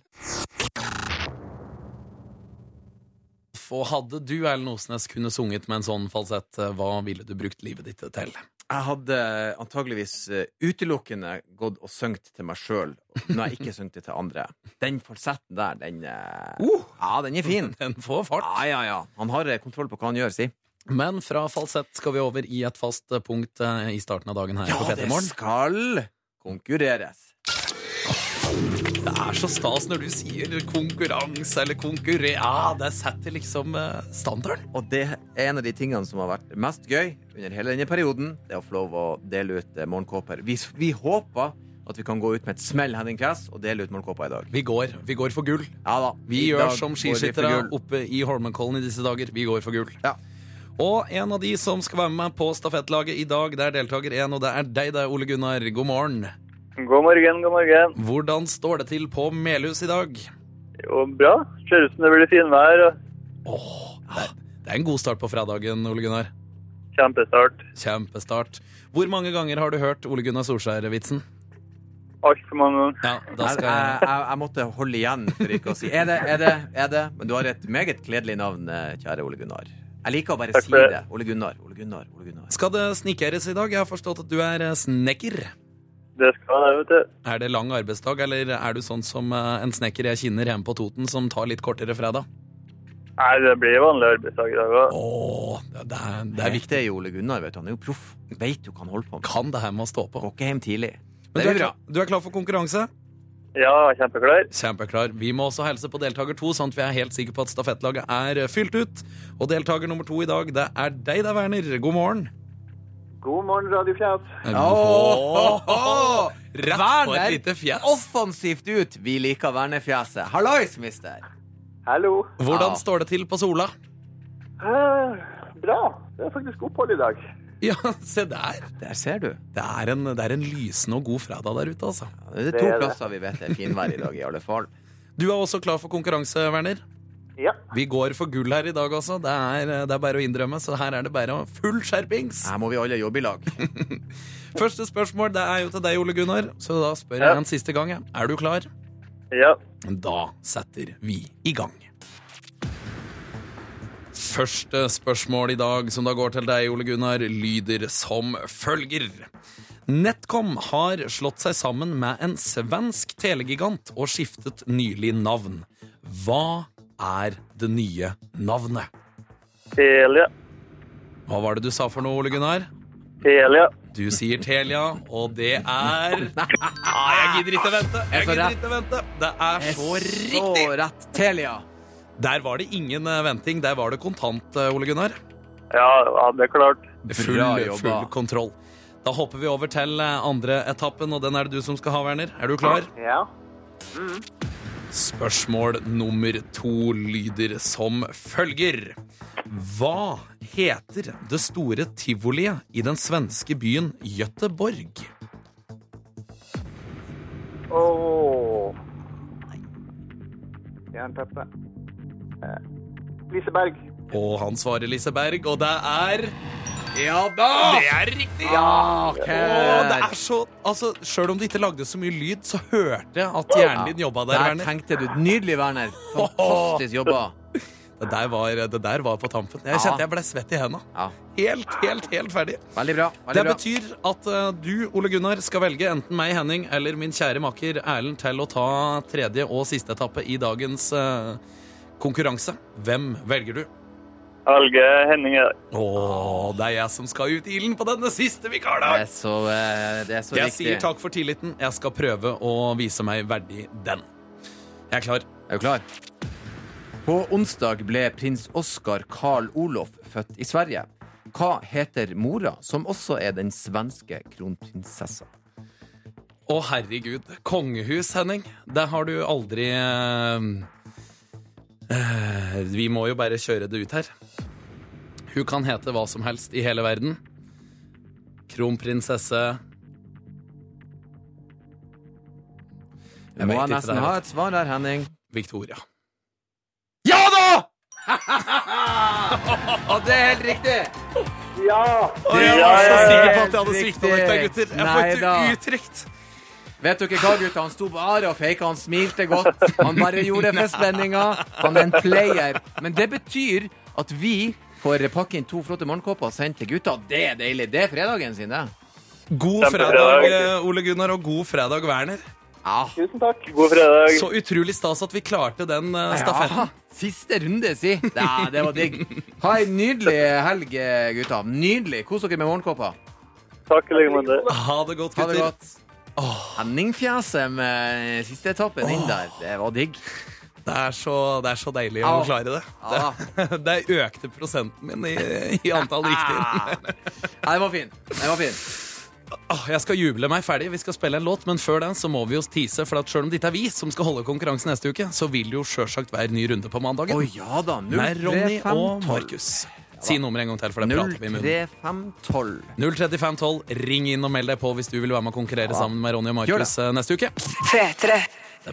Speaker 2: Og hadde du, Erlend Osnes, kunne sunget med en sånn falsett, eh, hva ville du brukt livet ditt til?
Speaker 3: Jeg hadde antageligvis eh, utelukkende gått og sunget til meg sjøl når jeg ikke sunget det til andre. Den falsetten der, den eh,
Speaker 2: Uh!
Speaker 3: Ja, den er fin.
Speaker 2: Den får fart.
Speaker 3: Ja, ja, ja. Han har eh, kontroll på hva han gjør, si.
Speaker 2: Men fra falsett skal vi over i et fast eh, punkt eh, i starten av dagen her på P3 Morgen.
Speaker 3: skal konkurreres.
Speaker 2: Det er så stas når du sier konkurranse eller konkurre... Ja, det setter liksom eh, standarden.
Speaker 3: Og det er en av de tingene som har vært mest gøy under hele denne perioden. Det er å få lov å dele ut eh, morgenkåper. Vi, vi håper at vi kan gå ut med et smell Henning Cass og dele ut morgenkåper i dag.
Speaker 2: Vi går. Vi går for gull.
Speaker 3: Ja da.
Speaker 2: Vi
Speaker 3: I
Speaker 2: gjør
Speaker 3: dag
Speaker 2: som
Speaker 3: går vi for
Speaker 2: skiskyttere
Speaker 3: gull.
Speaker 2: oppe i Holmenkollen i disse dager. Vi går for gull.
Speaker 3: Ja.
Speaker 2: Og en av de som skal være med på stafettlaget i dag, det er deltaker én, og det er deg, det er Ole Gunnar. God morgen.
Speaker 5: God morgen, god morgen.
Speaker 2: Hvordan står det til på Melhus i dag?
Speaker 5: Jo, bra. Ser ut som det blir finvær. og
Speaker 2: Det er en god start på fredagen, Ole Gunnar.
Speaker 5: Kjempestart.
Speaker 2: Kjempestart. Hvor mange ganger har du hørt Ole Gunnar Solskjær-vitsen?
Speaker 5: Altfor mange ganger.
Speaker 2: Ja, da
Speaker 3: Jeg,
Speaker 2: skal
Speaker 3: jeg,
Speaker 2: jeg...
Speaker 3: jeg, jeg måtte holde igjen for ikke å si Er det, er det, er det? Men du har et meget gledelig navn, eh, kjære Ole Gunnar. Jeg liker å bare
Speaker 5: Takk
Speaker 3: si
Speaker 5: for det.
Speaker 3: det. Ole Gunnar, Ole Gunnar, Ole Gunnar.
Speaker 2: Skal det snikeres i dag? Jeg har forstått at du er eh, snekker.
Speaker 5: Det skal det, vet du.
Speaker 2: Er det lang arbeidsdag, eller er du sånn som eh, en snekker jeg kjenner hjemme på Toten, som tar litt kortere fredag?
Speaker 5: Nei, det blir vanlig arbeidsdag i dag òg.
Speaker 2: Åh, det det er, det
Speaker 3: Det
Speaker 2: er viktig.
Speaker 3: viktige er jo Ole Gunnar, vet du. Han er jo proff. Veit jo hva han holder på med.
Speaker 2: Kan det her med å stå på.
Speaker 3: Går ikke hjem tidlig.
Speaker 2: Men du er, klar, du er klar for konkurranse?
Speaker 5: Ja, kjempeklar.
Speaker 2: Kjempeklar. Vi må også helse på deltaker to, sånn at vi er helt sikre på at stafettlaget er eh, fylt ut. Og deltaker nummer to i dag, det er deg da, Werner. God morgen.
Speaker 5: God morgen, radiofjes.
Speaker 3: Åh!
Speaker 2: Rett på
Speaker 3: Werner!
Speaker 2: et lite fjes.
Speaker 3: Offensivt ut! Vi liker Werner-fjeset. Hallois, mister!
Speaker 5: Hallo.
Speaker 2: Hvordan
Speaker 3: Ja.
Speaker 2: står det til på Sola?
Speaker 5: bra. Det er faktisk opphold i dag.
Speaker 2: Ja, se der.
Speaker 3: Der ser du.
Speaker 2: Det er en, det er en lysende og god fredag der ute, altså.
Speaker 3: Ja, Det er
Speaker 5: Det
Speaker 3: to
Speaker 5: er det.
Speaker 3: plasser vi vet det er finvær i dag, i alle fall.
Speaker 2: Du er også klar for konkurranse, Werner?
Speaker 5: Ja.
Speaker 2: Vi går for gull her i dag også. Det er, eh, det er bare å innrømme, så her er det bare å full skjerpings.
Speaker 3: Her må vi alle jobbe i lag.
Speaker 2: Første spørsmål det er jo til deg, Ole Gunnar, så da spør
Speaker 5: Ja.
Speaker 2: jeg en siste gang. jeg. Er du klar?
Speaker 5: Ja.
Speaker 2: Da setter vi i gang. Første spørsmål i dag, som da går til deg, Ole Gunnar, lyder som følger. Netcom har slått seg sammen med en svensk telegigant og skiftet nylig navn. Hva er det nye navnet?
Speaker 5: Telia.
Speaker 2: Hva var det du sa for noe, Ole Gunnar?
Speaker 5: Telia.
Speaker 2: Du sier Telia, og det er Nei, jeg gidder ikke vente. Jeg
Speaker 3: så
Speaker 2: gidder
Speaker 3: rett.
Speaker 2: ikke vente. Det er så
Speaker 3: Så
Speaker 2: riktig.
Speaker 3: rett. Telia.
Speaker 2: Der var det ingen eh, venting. Der var det kontant, eh, Ole Gunnar.
Speaker 5: Ja, ja, det er klart.
Speaker 2: Full,
Speaker 3: Bra jobba.
Speaker 2: full kontroll. Da hopper vi over til eh, andre etappen, og den er det du som skal ha, Werner. Er du klar?
Speaker 5: Ja.
Speaker 2: Spørsmål nummer to lyder som følger. Hva heter det store tivoliet i den svenske byen Göteborg?
Speaker 5: Åh. Jernteppe. Eh, Liseberg.
Speaker 2: Og han svarer Lise Berg, og det er Ja da! Det er riktig! Og det er så Altså, Sjøl om det ikke lagde så mye lyd, så hørte jeg at hjernen din jobba der.
Speaker 3: Der
Speaker 2: Werner.
Speaker 3: tenkte du. Nydelig, Werner. Fantastisk jobba.
Speaker 2: Det der var, det der var på tampen. Jeg
Speaker 3: Ja.
Speaker 2: kjente jeg ble svett i henda.
Speaker 3: Ja,
Speaker 2: Helt, helt, helt ferdig.
Speaker 3: Veldig bra. Veldig
Speaker 2: Det
Speaker 3: bra.
Speaker 2: betyr at eh, du, Ole Gunnar, skal velge enten meg, Henning, eller min kjære maker Erlend til å ta tredje og siste etappe i dagens eh, konkurranse. Hvem velger du?
Speaker 5: Helge Henning er der.
Speaker 2: Å, det er jeg som skal ut i ilden på denne siste
Speaker 3: Det
Speaker 2: vikardagen!
Speaker 3: er så, eh, det er så
Speaker 2: Jeg
Speaker 3: riktig.
Speaker 2: sier takk for tilliten. Jeg skal prøve å vise meg verdig den. Jeg er klar.
Speaker 3: Er du klar? På onsdag ble prins Oskar Karl Olof født i Sverige. Hva heter mora, som også er den svenske kronprinsessa?
Speaker 2: Å, herregud. Kongehus, Henning. Det har du aldri eh, eh, Vi må jo bare kjøre det ut her. Hun kan hete hva som helst i hele verden. Kronprinsesse
Speaker 3: Du må
Speaker 2: vet
Speaker 3: jeg
Speaker 2: ikke
Speaker 3: nesten
Speaker 2: det her.
Speaker 3: ha et svar der, Henning.
Speaker 2: Victoria.
Speaker 3: Ja da! Og det er helt riktig!
Speaker 2: jeg
Speaker 5: var så
Speaker 3: sikker på at jeg hadde sviktet dere der, gutter. Jeg får ikke
Speaker 2: uttrykt.
Speaker 3: Vet dere hva, gutta? Han sto bare og faka. Han smilte godt. Han bare gjorde det for spenninga. Han er en player. Men det betyr at vi får pakke inn to flotte morgenkåper og sende til gutta. Det er deilig. Det er fredagen sin, det.
Speaker 2: God fredag, eh, Ole Gunnar, og god fredag, Werner.
Speaker 3: Ja.
Speaker 5: Tusen takk. God fredag.
Speaker 2: Så utrolig stas at vi klarte den eh, stafetten.
Speaker 3: Siste runde, si. Ja, det var digg. Ha ei nydelig helg, gutta. Nydelig. Kos dere med morgenkåpa.
Speaker 5: Takk i like måte.
Speaker 2: Ha det godt,
Speaker 3: Ha det
Speaker 2: gutter.
Speaker 3: godt. Henningfjeset med siste etappen inn der. Det var digg.
Speaker 2: Det er så, det er så deilig å
Speaker 3: Au.
Speaker 2: klare det.
Speaker 3: Ja.
Speaker 2: Det, det økte prosenten min i, i antall riktige.
Speaker 3: Ja, den var fin. Den var fin.
Speaker 2: Åh, Ah, Jeg skal juble meg ferdig. Vi skal spille en låt, men før den så må vi jo tease. For at selv om det ikke er vi som skal holde konkurransen neste uke, så vil det jo sjølsagt være ny runde på
Speaker 3: Å
Speaker 2: mandagen.
Speaker 3: ja da.
Speaker 2: Med Ronny og
Speaker 3: 03512.
Speaker 2: Markus. Si nummeret en gang til, for det prater vi i munnen.
Speaker 3: 03512.
Speaker 2: 03512. Ring inn og meld deg på hvis du vil være med å konkurrere sammen med Ronny og
Speaker 3: Gjør
Speaker 2: Markus eh, neste uke. Det er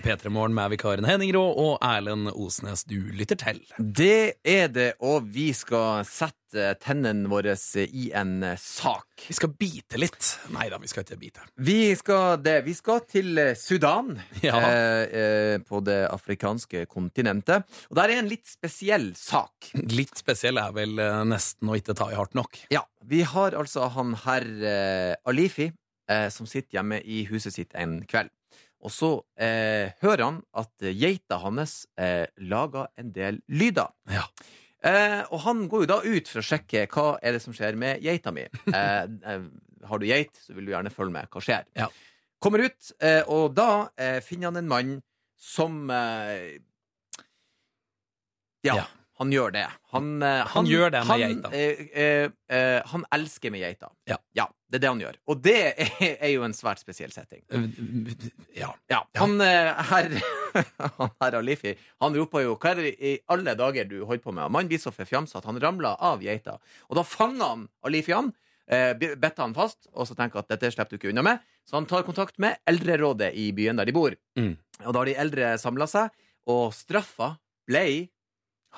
Speaker 2: P3 Morgen med vikaren Henning Rå og Erlend Osnes du lytter til.
Speaker 3: Det er det, og vi skal sette tennene våre i en eh, sak.
Speaker 2: Vi skal bite litt. Nei da, vi skal ikke bite.
Speaker 3: Vi skal, det, vi skal til eh, Sudan,
Speaker 2: Ja.
Speaker 3: eh, eh, på det afrikanske kontinentet. Og der er en litt spesiell sak.
Speaker 2: Litt spesiell er vel eh, nesten å ikke ta i hardt nok.
Speaker 3: Ja, vi har altså han herr eh, Alifi, eh, som sitter hjemme i huset sitt en kveld. Og så eh, hører han at geita hans eh, lager en del lyder.
Speaker 2: Ja.
Speaker 3: Eh, og han går jo da ut for å sjekke hva er det som skjer med geita mi. Eh, eh, har du geit, så vil du gjerne følge med. Hva skjer?
Speaker 2: Ja.
Speaker 3: Kommer ut, eh, og da eh, finner han en mann som eh, ja,
Speaker 2: Ja.
Speaker 3: han gjør det. Han, eh,
Speaker 2: Han gjør det med
Speaker 3: han,
Speaker 2: geita.
Speaker 3: Eh, eh, eh, han elsker med geita.
Speaker 2: Ja.
Speaker 3: Det er det han gjør. Og det er, er jo en svært spesiell setting.
Speaker 2: Eh, Ja.
Speaker 3: Ja, han eh, herr han herr Alifi, han roper jo 'Hva er det i alle dager du holder på med?' Og Mannen blir så forfjamsa at han ramler av geita. Og da fanger han Alifi han, eh, be- bitter han fast, og så tenker at 'dette slipper du ikke unna med', så han tar kontakt med eldrerådet i byen der de bor.
Speaker 2: Mm.
Speaker 3: Og da har de eldre samla seg, og straffa ble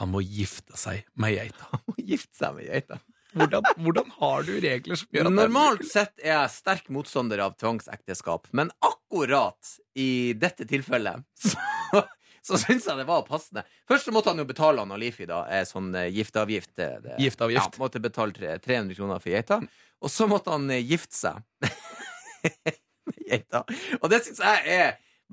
Speaker 2: Han må gifte seg med geita.
Speaker 3: å gifte seg med geita.
Speaker 2: Hvordan, hvordan har du regler som gjør at det er
Speaker 3: Normalt sett er jeg sterk motstander av tvangsekteskap, men akkurat i dette tilfellet så, så syns jeg det var passende. Først så måtte han jo betale han Alifi, da, eh, sånn eh, gifteavgift. eh, det-
Speaker 2: Gifteavgift.
Speaker 3: Ja, måtte betale tre- 300 kroner for geita.
Speaker 2: Mm.
Speaker 3: Og så måtte han eh, gifte seg med geita. Og det syns jeg er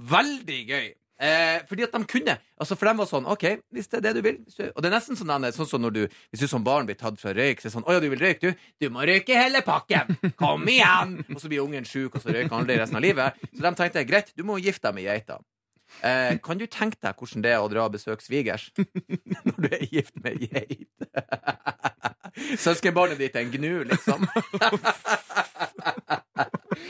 Speaker 3: veldig gøy. Eh, fordi at de kunne Altså For de var sånn OK, hvis det er det du vil hvis du, Og det er nesten sånn, Anne, sånn som når du Hvis du som barn blir tatt fra røyk, så er det sånn Å ja, du vil røyke, du? Du må røyke hele pakken! Kom igjen! Og så blir ungen sjuk, og så røyker han det resten av livet. Så de tenkte greit, du må gifte deg med geita. Eh, kan du tenke deg hvordan det er å dra og besøke svigers når du er gift med geit? Søskenbarnet ditt er en gnu, liksom.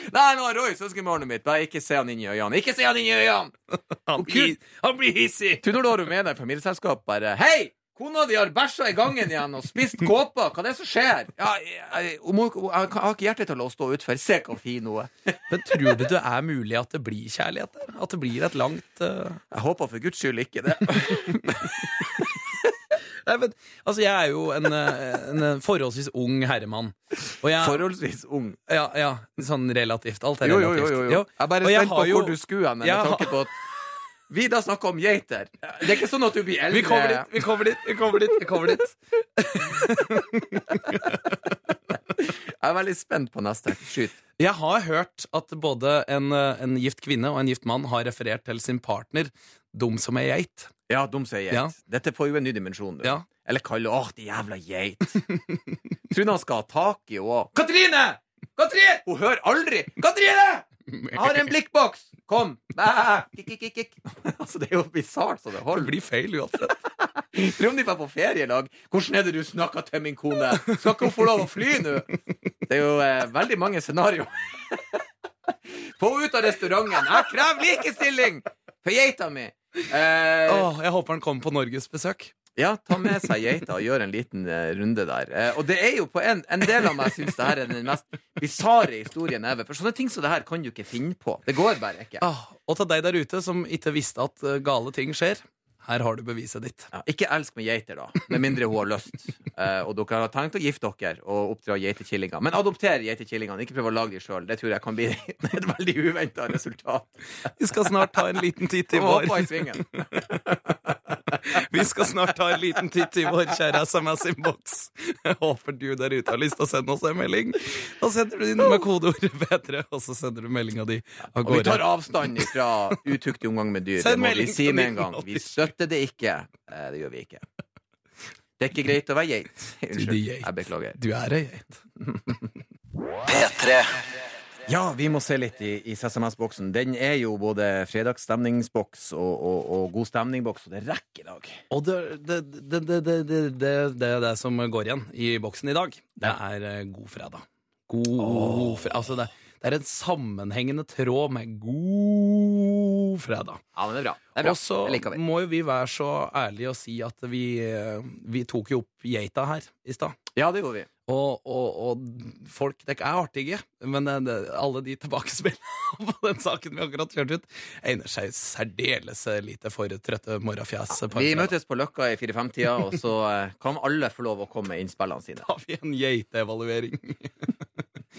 Speaker 3: Nei, nå er Roy søskenbarnet mitt. Bare ikke se han inn i øynene. Ikke se han inn i øynene!
Speaker 2: Han blir, han blir hissig!
Speaker 3: Du, når du har rumener i familieselskap, bare Hei! Kona di har bæsja i gangen igjen og spist kåpa. Hva er det som skjer? Ja, jeg, jeg, hun må- hun- jeg har ikke hjerte til å stå utfor. Se hvor fin hun er.
Speaker 2: Men tror du det er mulig at det blir kjærlighet der? At det blir et langt eh,
Speaker 3: Jeg håper for guds skyld ikke det.
Speaker 2: Nei, men, altså, jeg er jo en, eh, en forholdsvis ung herremann. Og jeg,
Speaker 3: Forholdsvis ung.
Speaker 2: ja, ja, sånn relativt. Alt er
Speaker 3: Jo, jo,
Speaker 2: relativt.
Speaker 3: jo. jo, jo.
Speaker 2: Jo,
Speaker 3: Jeg er bare
Speaker 2: og jeg
Speaker 3: spent på
Speaker 2: har jo-
Speaker 3: hvor du skulle hen. med
Speaker 2: Jeg har-
Speaker 3: tanke på at Vi da snakker om geiter. Det er ikke sånn at du blir eldre.
Speaker 2: Vi kommer dit, vi kommer dit, vi kommer dit. Vi kommer dit.
Speaker 3: Jeg er veldig spent på neste. Skyt.
Speaker 2: Jeg har hørt at både en, eh, en gift kvinne og en gift mann har referert til sin partner dum som ei geit.
Speaker 3: Ja, de sier geit.
Speaker 2: Ja.
Speaker 3: Dette får jo en ny dimensjon. du.
Speaker 2: Ja.
Speaker 3: Eller kalle Åh, de jævla geit. Tror du han skal ha tak i henne? Katrine! Katrine! Hun hører aldri! Katrine! Jeg har en blikkboks! Kom! Bæ! Kikk, kikk, kikk, kikk. Altså, det er jo bisart så det
Speaker 2: Det
Speaker 3: holder.
Speaker 2: blir feil uansett.
Speaker 3: Tror om de drar på ferie i lag. Hvordan er det du snakker til min kone? Skal ikke hun få lov å fly nå? Det er jo eh, veldig mange scenarioer. Få henne ut av restauranten. Jeg krever likestilling for geita mi! Eh,
Speaker 2: Åh, jeg håper han kommer på norgesbesøk.
Speaker 3: ja, ta med seg geita og gjør en liten eh, runde der. Eh, og det er jo på en, en del av meg syns det her er den mest bisarre historien ever. For sånne ting som det her kan du ikke finne på. Det går bare ikke.
Speaker 2: Ah, og til deg der ute som ikke visste at eh, gale ting skjer, her har du beviset ditt.
Speaker 3: Ja, ikke elsk med geiter, da. Med mindre hun har lyst. Eh, og dere har tenkt å gifte dere og oppdra geitekillinger. Men adopter geitekillingene, ikke prøv å lage de sjøl. Det tror jeg kan bli et veldig uventa resultat.
Speaker 2: Vi skal snart ta en liten titt i
Speaker 3: Må hoppe i
Speaker 2: vår.
Speaker 3: svingen.
Speaker 2: Vi skal snart ta en liten titt i vår kjære SMS-innboks. Jeg håper du der ute har lyst til å sende oss en melding. Da sender du inn med kodeordet bedre, E, og så sender du meldinga di av
Speaker 3: Og vi tar
Speaker 2: gårde.
Speaker 3: avstand fra utuktig omgang med dyr.
Speaker 2: Send
Speaker 3: Det må vi
Speaker 2: melding
Speaker 3: si
Speaker 2: til
Speaker 3: med en gang. Vi
Speaker 2: 1987.
Speaker 3: støtter det ikke. Eh, Det gjør vi ikke. Det er ikke greit å være geit. Unnskyld.
Speaker 2: geit.
Speaker 3: Jeg beklager.
Speaker 2: Du er ei geit.
Speaker 1: P3.
Speaker 3: Ja, vi må se litt i, i SMS-boksen. Den er jo både fredagsstemningsboks og, og, og god stemning-boks, og det rekker i dag.
Speaker 2: Og det det, det, det, det, det, det, det er det som går igjen i boksen i dag. Det er eh, god fredag. God fredag. Altså, det, det er en sammenhengende tråd med god fredag.
Speaker 3: Ja, men det er bra. Det er bra.
Speaker 2: Og så
Speaker 3: Det liker vi.
Speaker 2: må jo vi være så ærlige og si at vi, eh, vi tok jo opp geita her i stad.
Speaker 3: Ja, det gjorde vi.
Speaker 2: Og, og, og folk Dere er artige, men eh, det, det, alle de tilbakespillene på den saken vi akkurat kjørte ut, egner seg særdeles lite for trøtte morgenfjes. på en
Speaker 3: Vi
Speaker 2: fredag.
Speaker 3: møtes på Løkka i 4-5-tida, og så eh, kan alle få lov å komme med innspillene sine.
Speaker 2: har vi en geiteevaluering.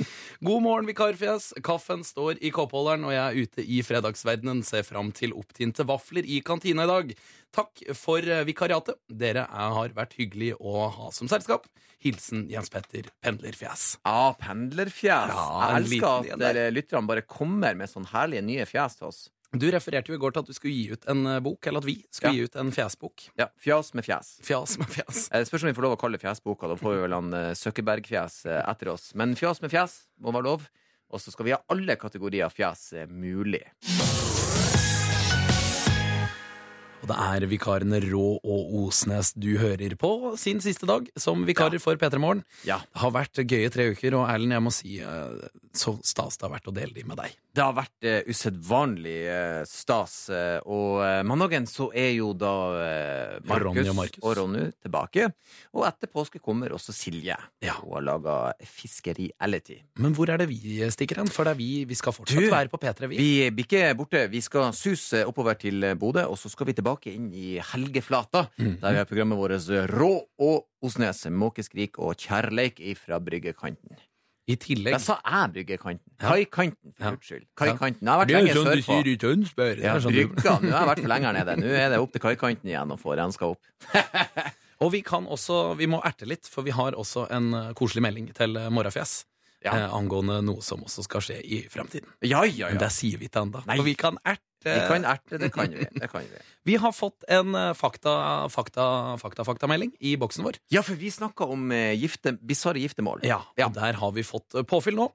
Speaker 2: God morgen, vikarfjes. Kaffen står i koppholderen, og jeg er ute i fredagsverdenen. Ser fram til opptinte vafler i kantina i dag. Takk for eh, vikariatet. Dere er, har vært hyggelig å ha som selskap. Hilsen Jens Petter Pendlerfjes.
Speaker 3: Ja, pendlerfjes.
Speaker 2: Ja, en
Speaker 3: Jeg
Speaker 2: liten
Speaker 3: elsker
Speaker 2: en
Speaker 3: at
Speaker 2: der.
Speaker 3: dere lytterne bare kommer med sånne herlige nye fjes til oss.
Speaker 2: Du refererte jo i går til at du skulle gi ut en eh, bok, eller at vi skulle
Speaker 3: Ja.
Speaker 2: gi ut en fjesbok.
Speaker 3: Ja, Fjas med fjes.
Speaker 2: Fjas med fjes.
Speaker 3: Eh, Spørs om vi får lov å kalle fjesboka. Da får vi vel han eh, Søkkeberg-fjes eh, etter oss. Men fjas med fjes må være lov. Og så skal vi ha alle kategorier fjes eh, mulig.
Speaker 2: Og det er vikarene Rå og Osnes du hører på sin siste dag som vikarer for P3 Morgen.
Speaker 3: Ja.
Speaker 2: Det har vært gøye tre uker, og Erlend, jeg må si eh, så stas det har vært å dele de med deg.
Speaker 3: Det har vært uh, usedvanlig eh, stas. eh, og eh, mandagen så er jo da eh, Markus
Speaker 2: Ronny og Markus.
Speaker 3: og Ronny tilbake. Og etter påske kommer også Silje.
Speaker 2: Ja.
Speaker 3: Hun har laga Fiskeriality.
Speaker 2: Men hvor er det vi stikker hen? For det er vi, vi skal fortsatt
Speaker 3: Du,
Speaker 2: være på P3, vi.
Speaker 3: Vi blir ikke borte. Vi skal suse oppover til Bodø, og så skal vi tilbake inn i Helgeflata.
Speaker 2: Mhm.
Speaker 3: Der vi har programmet vårt eh, Rå og Osnes, Måkeskrik og Kjærleik fra bryggekanten.
Speaker 2: I tillegg
Speaker 3: Jeg sa jeg bryggekanten. Kaikanten, for
Speaker 2: Ja.
Speaker 3: guds skyld.
Speaker 2: Ja. sånn
Speaker 3: Kaikanten. Jeg har vært lenger sørpå.
Speaker 2: i Tønsberg. sånn
Speaker 3: Ja, brygga. Nå har jeg vært for lenger nede. Nå er det opp til kaikanten igjen å få renska opp.
Speaker 2: Og vi kan også, vi må erte litt, for vi har også en eh, koselig melding til eh, Morgenfjes.
Speaker 3: Ja.
Speaker 2: Eh, angående noe som også skal skje i fremtiden.
Speaker 3: Ja, ja,
Speaker 2: Men
Speaker 3: ja.
Speaker 2: det sier vi ikke ennå.
Speaker 3: Nei.
Speaker 2: For vi kan erte.
Speaker 3: Vi kan erte, det kan vi. Det kan vi.
Speaker 2: Vi har fått en eh, fakta, fakta, fakta, faktamelding i boksen vår.
Speaker 3: Ja, for vi snakka om eh, gifte, bisarre giftermål.
Speaker 2: Ja, og Der har vi fått eh, påfyll nå.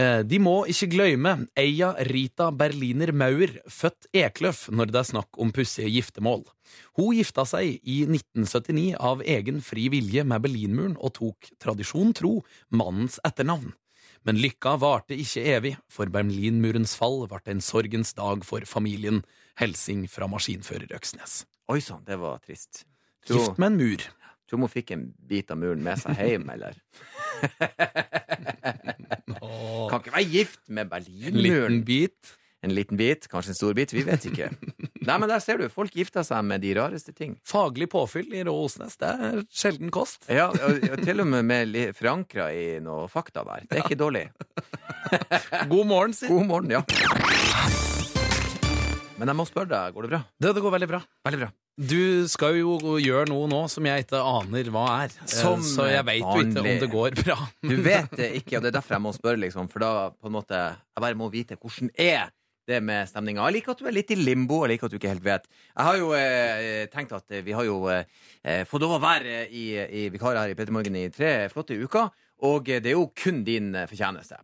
Speaker 2: Eh, De må ikke glemme Eia Rita Berliner Mauer, født Ekløf, når det er snakk om pussige giftermål. Hun gifta seg i 1979 av egen fri vilje med Berlinmuren og tok, tradisjon tro, mannens etternavn. Men lykka varte ikke evig, for Berlinmurens fall ble en sorgens dag for familien. Helsing fra maskinfører Øksnes.
Speaker 3: Oi sann, det var trist. Jo.
Speaker 2: Gift med en mur.
Speaker 3: Tror hun fikk en bit av muren med seg hjem, eller? kan ikke være gift med
Speaker 2: En liten
Speaker 3: Berlinmuren.
Speaker 2: bit.
Speaker 3: En, En liten bit, kanskje en stor bit. Vi vet ikke. Nei, men der ser du. Folk gifter seg med de rareste ting.
Speaker 2: Faglig påfyll i rå Osnes, det er sjelden kost.
Speaker 3: Ja, og, og til og med, med li- forankra i noe fakta der. Det er ikke dårlig.
Speaker 2: God morgen, si.
Speaker 3: God morgen, ja. Men jeg må spørre deg, går det bra?
Speaker 2: Det, det går veldig bra.
Speaker 3: Veldig bra.
Speaker 2: Du skal jo gjøre noe nå som jeg ikke aner hva er. Eh,
Speaker 3: Som
Speaker 2: så jeg veit jo ikke om
Speaker 3: vanlig.
Speaker 2: det går bra.
Speaker 3: Du vet det ikke, og det er derfor jeg må spørre, liksom. For da på en måte Jeg bare må vite hvordan er det med stemninga. Jeg liker at du er litt i limbo, og jeg liker at du ikke helt vet. Jeg har jo eh, tenkt at eh, vi har jo eh, fått lov å være eh, i, i vikar her i Petter Morgen i tre flotte uker, og eh, det er jo kun din eh, fortjeneste.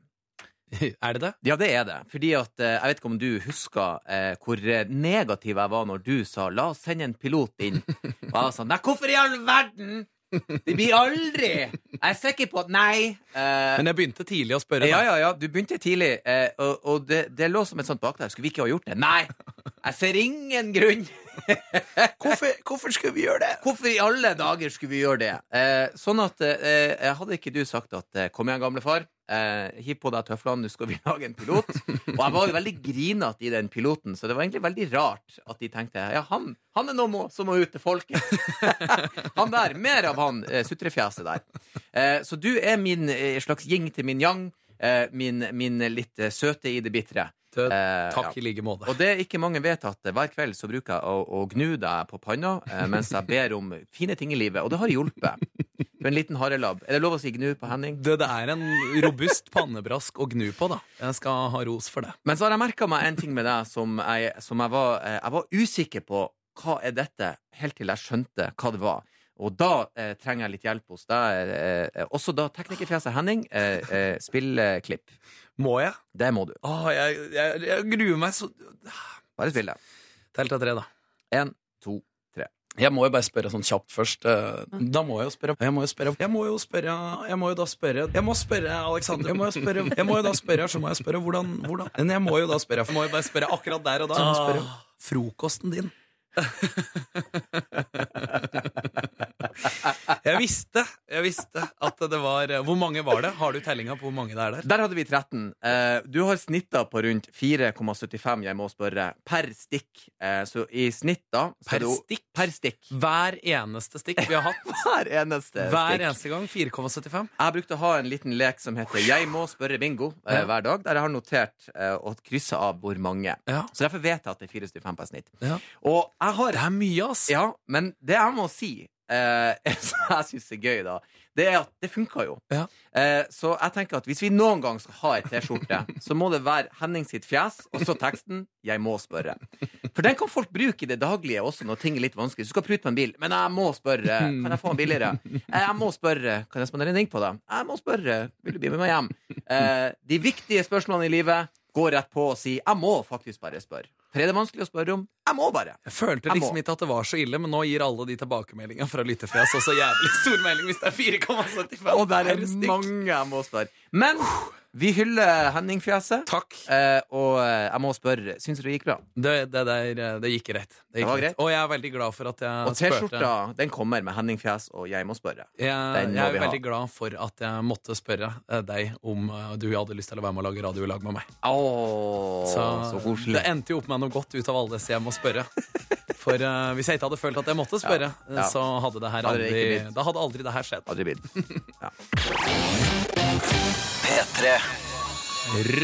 Speaker 2: Er det det?
Speaker 3: Ja, det er det. Fordi at eh, Jeg vet ikke om du husker eh, hvor eh, negativ jeg var når du sa 'la oss sende en pilot inn'. Og jeg sa 'nei, hvorfor i all verden?! Det blir aldri! Jeg er sikker på at Nei! Eh,
Speaker 2: Men jeg begynte tidlig å spørre.
Speaker 3: ja,
Speaker 2: Da.
Speaker 3: ja, ja, du begynte tidlig, eh, og, og det, det lå som et sånt bak der. Skulle vi ikke ha gjort det? Nei! Jeg ser ingen grunn!
Speaker 2: Hvorfor, hvorfor skulle vi gjøre det?
Speaker 3: Hvorfor i alle dager skulle vi gjøre det? Eh, sånn at eh, eh, Hadde ikke du sagt at eh, 'kom igjen, gamle far', eh, hiv på deg tøflene, nå skal vi lage en pilot. Og jeg var jo veldig grinete i den piloten, så det var egentlig veldig rart at de tenkte ja, han, han er noe må, som må ut til folket. han der. Mer av han eh, sutrefjeset der. Eh, så du er min eh, slags yin til min yang. Eh, min, min litt eh, søte i det bitre.
Speaker 2: Du,
Speaker 3: Eh,
Speaker 2: Takk
Speaker 3: ja.
Speaker 2: i like måte.
Speaker 3: Og det ikke mange vet, at eh, hver kveld så bruker jeg å, å gnu deg på panna eh, mens jeg ber om fine ting i livet, og det har hjulpet. Du er en liten harelabb. Er det lov å si gnu på Henning?
Speaker 2: Det, det er en robust pannebrask å gnu på, da. Jeg skal ha ros for det.
Speaker 3: Men så har jeg merka meg en ting med deg som, jeg, som jeg, var, eh, jeg var usikker på. Hva er dette? Helt til jeg skjønte hva det var. Og da eh, trenger jeg litt hjelp hos deg. Eh, eh, også da teknikerfjeset Henning. Eh, eh, spill eh, klipp.
Speaker 2: Må jeg?
Speaker 3: Det må du.
Speaker 2: Åh, jeg, jeg, jeg gruer meg så
Speaker 3: Bare spill det.
Speaker 2: Tell til tre, da.
Speaker 3: Én, to, tre.
Speaker 2: Jeg må jo bare spørre sånn kjapt først. eh, Da må jeg jo spørre. Jeg må jo spørre. Jeg må jo spørre. Jeg må jo da spørre. Jeg må spørre Alexander. Jeg må jo spørre. Jeg må jo da spørre, så må jeg spørre hvordan, hvordan. Men jeg må jo da spørre. For jeg må jo bare spørre akkurat der og da. Så må jeg spørre frokosten din. jeg visste, jeg visste at det var Hvor mange var det? Har du tellinga på hvor mange det er der?
Speaker 3: Der hadde vi 13. Eh, du har snitta på rundt 4,75, jeg må spørre, per stikk. Eh, så i snitt, da så
Speaker 2: Per
Speaker 3: er det jo-
Speaker 2: stikk?
Speaker 3: Per stikk.
Speaker 2: Hver eneste stikk vi har hatt.
Speaker 3: Hver eneste
Speaker 2: Hver
Speaker 3: stikk.
Speaker 2: eneste gang 4,75.
Speaker 3: Jeg brukte å ha en liten lek som heter Jeg må spørre bingo eh,
Speaker 2: Ja.
Speaker 3: hver dag, der jeg har notert eh, og kryssa av hvor mange.
Speaker 2: Ja.
Speaker 3: Så derfor vet jeg at det er 4,75 per snitt.
Speaker 2: Ja.
Speaker 3: Og jeg har
Speaker 2: Det er mye, ass.
Speaker 3: Ja, men det jeg må si, eh, som jeg syns er gøy, da, det er at det funka jo.
Speaker 2: Ja.
Speaker 3: Eh, så jeg tenker at hvis vi noen gang skal ha ei T-skjorte, så må det være Henning sitt fjes og så teksten 'Jeg må spørre'. For den kan folk bruke i det daglige også når ting er litt vanskelig. Du skal prute på en bil, men 'jeg må spørre'. Kan jeg få den billigere? Eh, 'Jeg må spørre'. Kan jeg spandere en ring på deg? 'Jeg må spørre'. Vil du bli med meg hjem? Eh, de viktige spørsmålene i livet går rett på og si 'jeg må faktisk bare spørre'. For er det vanskelig å spørre om? Jeg må bare.
Speaker 2: Jeg følte
Speaker 3: Jeg
Speaker 2: liksom
Speaker 3: må.
Speaker 2: ikke at det var så ille, men nå gir alle de tilbakemeldingene fra lyttefjes også jævlig stor melding hvis det er 4,75.
Speaker 3: Og der er
Speaker 2: per stykk.
Speaker 3: mange jeg må spørre. Men vi hyller Henning-fjeset.
Speaker 2: Takk.
Speaker 3: Eh, og eh, jeg må spørre, syns du det gikk bra?
Speaker 2: Det, det der eh, det gikk greit. Det, gikk
Speaker 3: Det var greit.
Speaker 2: Og jeg er veldig glad for at jeg
Speaker 3: Og T-skjorta den kommer med Henning-fjes og 'Jeg må spørre'.
Speaker 2: Jeg,
Speaker 3: Den må
Speaker 2: jeg er
Speaker 3: vi ha.
Speaker 2: veldig glad for at jeg måtte spørre eh, deg om eh, du hadde lyst til å være med og lage radio i lag med meg.
Speaker 3: Åh, så, koselig.
Speaker 2: det endte jo opp med noe godt ut av alle disse jeg må spørre. For eh, hvis jeg ikke hadde følt at jeg måtte spørre,
Speaker 3: Ja,
Speaker 2: eh,
Speaker 3: ja.
Speaker 2: så hadde det her
Speaker 3: Hadde det
Speaker 2: aldri,
Speaker 3: ikke blitt.
Speaker 2: da hadde aldri det her skjedd.
Speaker 3: Aldri blitt. Ja.
Speaker 1: P3.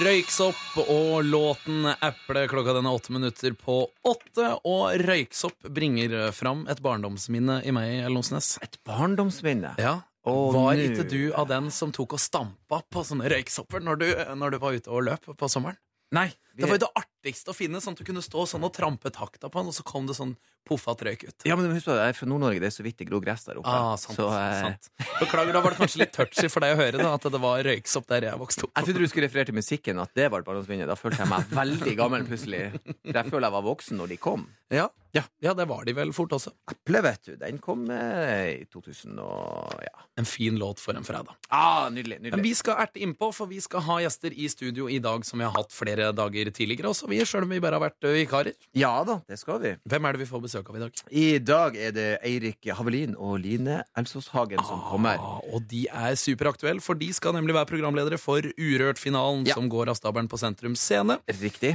Speaker 2: Røyksopp og låten Apple. Klokka den er åtte minutter på åtte. Og Røyksopp bringer fram et barndomsminne i meg, Elonsnes.
Speaker 3: Et barndomsminne.
Speaker 2: Ja.
Speaker 3: Å,
Speaker 2: var
Speaker 3: nu.
Speaker 2: ikke du av den som tok og stampa på sånne røyksopper når du, når du var ute og løp på sommeren?
Speaker 3: Nei. Vi,
Speaker 2: Det var jo det artigste å finne, sånn at du kunne stå sånn og trampe takta på den, og så kom det sånn poffat røyk ut.
Speaker 3: ja, men husk på, jeg er fra Nord-Norge, det er så vidt det gror gress der oppe.
Speaker 2: Ah, sant,
Speaker 3: så, eh,
Speaker 2: sant. Beklager, da var det kanskje litt touchy for deg å høre da, at det var røyksopp der jeg vokste opp.
Speaker 3: Jeg trodde du skulle referere til musikken, at det var et barndomsminne. Da følte jeg meg veldig gammel plutselig. For jeg føler jeg var voksen når de kom.
Speaker 2: Ja, ja, ja det var de vel fort også.
Speaker 3: Eple, vet du, den kom eh, i 2000 og ja.
Speaker 2: En fin låt for en fredag.
Speaker 3: Ah, nydelig,
Speaker 2: Men
Speaker 3: nydelig.
Speaker 2: vi skal erte innpå, for vi skal ha gjester i studio i dag som vi har hatt flere dager tidligere også, vi, selv om vi bare har vært ø, vikarer.
Speaker 3: Ja da, det skal vi.
Speaker 2: Hvem er det vi får besøk av i dag?
Speaker 3: I dag er det Eirik Havelin og Line Elsås Hagen som kommer.
Speaker 2: Ah, og de er superaktuelle, for de skal nemlig være programledere for Urørt-finalen
Speaker 3: Ja.
Speaker 2: som går av stabelen på Sentrum Scene.
Speaker 3: Riktig.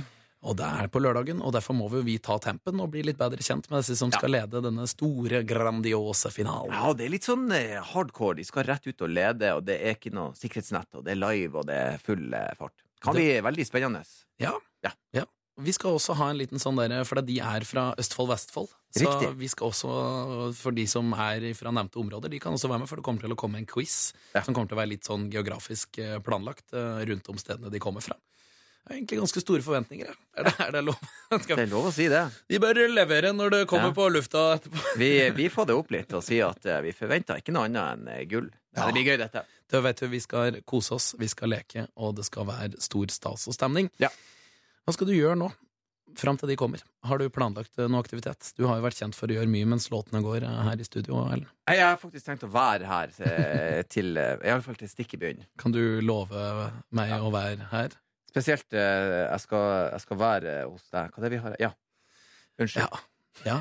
Speaker 2: Og det er på lørdagen, og derfor må vi ta tempen og bli litt bedre kjent med disse som skal lede denne store, grandiose finalen.
Speaker 3: Ja, det er litt sånn eh, hardcore. De skal rett ut og lede, og det er ikke noe sikkerhetsnett, og det er live, og det er full eh, fart. Kan bli veldig spennende.
Speaker 2: Ja.
Speaker 3: Ja.
Speaker 2: Vi skal også ha en liten sånn der, for de er fra Østfold-Vestfold. Så
Speaker 3: Riktig.
Speaker 2: vi skal også, for de som er fra nevnte områder, de kan også være med, for det kommer til å komme en quiz
Speaker 3: Ja.
Speaker 2: som kommer til å være litt sånn geografisk eh, planlagt eh, rundt om stedene de kommer fra. Det er egentlig ganske store forventninger, ja. Er det, er det lov?
Speaker 3: Det
Speaker 2: Skal vi-
Speaker 3: er lov å si det.
Speaker 2: De bør levere når det kommer
Speaker 3: Ja.
Speaker 2: på lufta etterpå.
Speaker 3: Vi, vi får det opp litt og sier at eh, vi forventer ikke noe annet enn eh, gull. Ja. Det blir gøy, dette.
Speaker 2: Da vet vi, vi skal kose oss, vi skal leke, og det skal være stor stas og stemning.
Speaker 3: Ja.
Speaker 2: Hva skal du gjøre nå, fram til de kommer? Har du planlagt eh, noe aktivitet? Du har jo vært kjent for å gjøre mye mens låtene går eh, her i studio, Ellen.
Speaker 3: Nei, Jeg har faktisk tenkt å være her eh, til eh, i alle fall til stikket begynner.
Speaker 2: Kan du love meg å være her?
Speaker 3: Spesielt eh, jeg, skal, jeg skal være hos deg. Hva er det vi har? Ja. Unnskyld.
Speaker 2: Ja. Ja.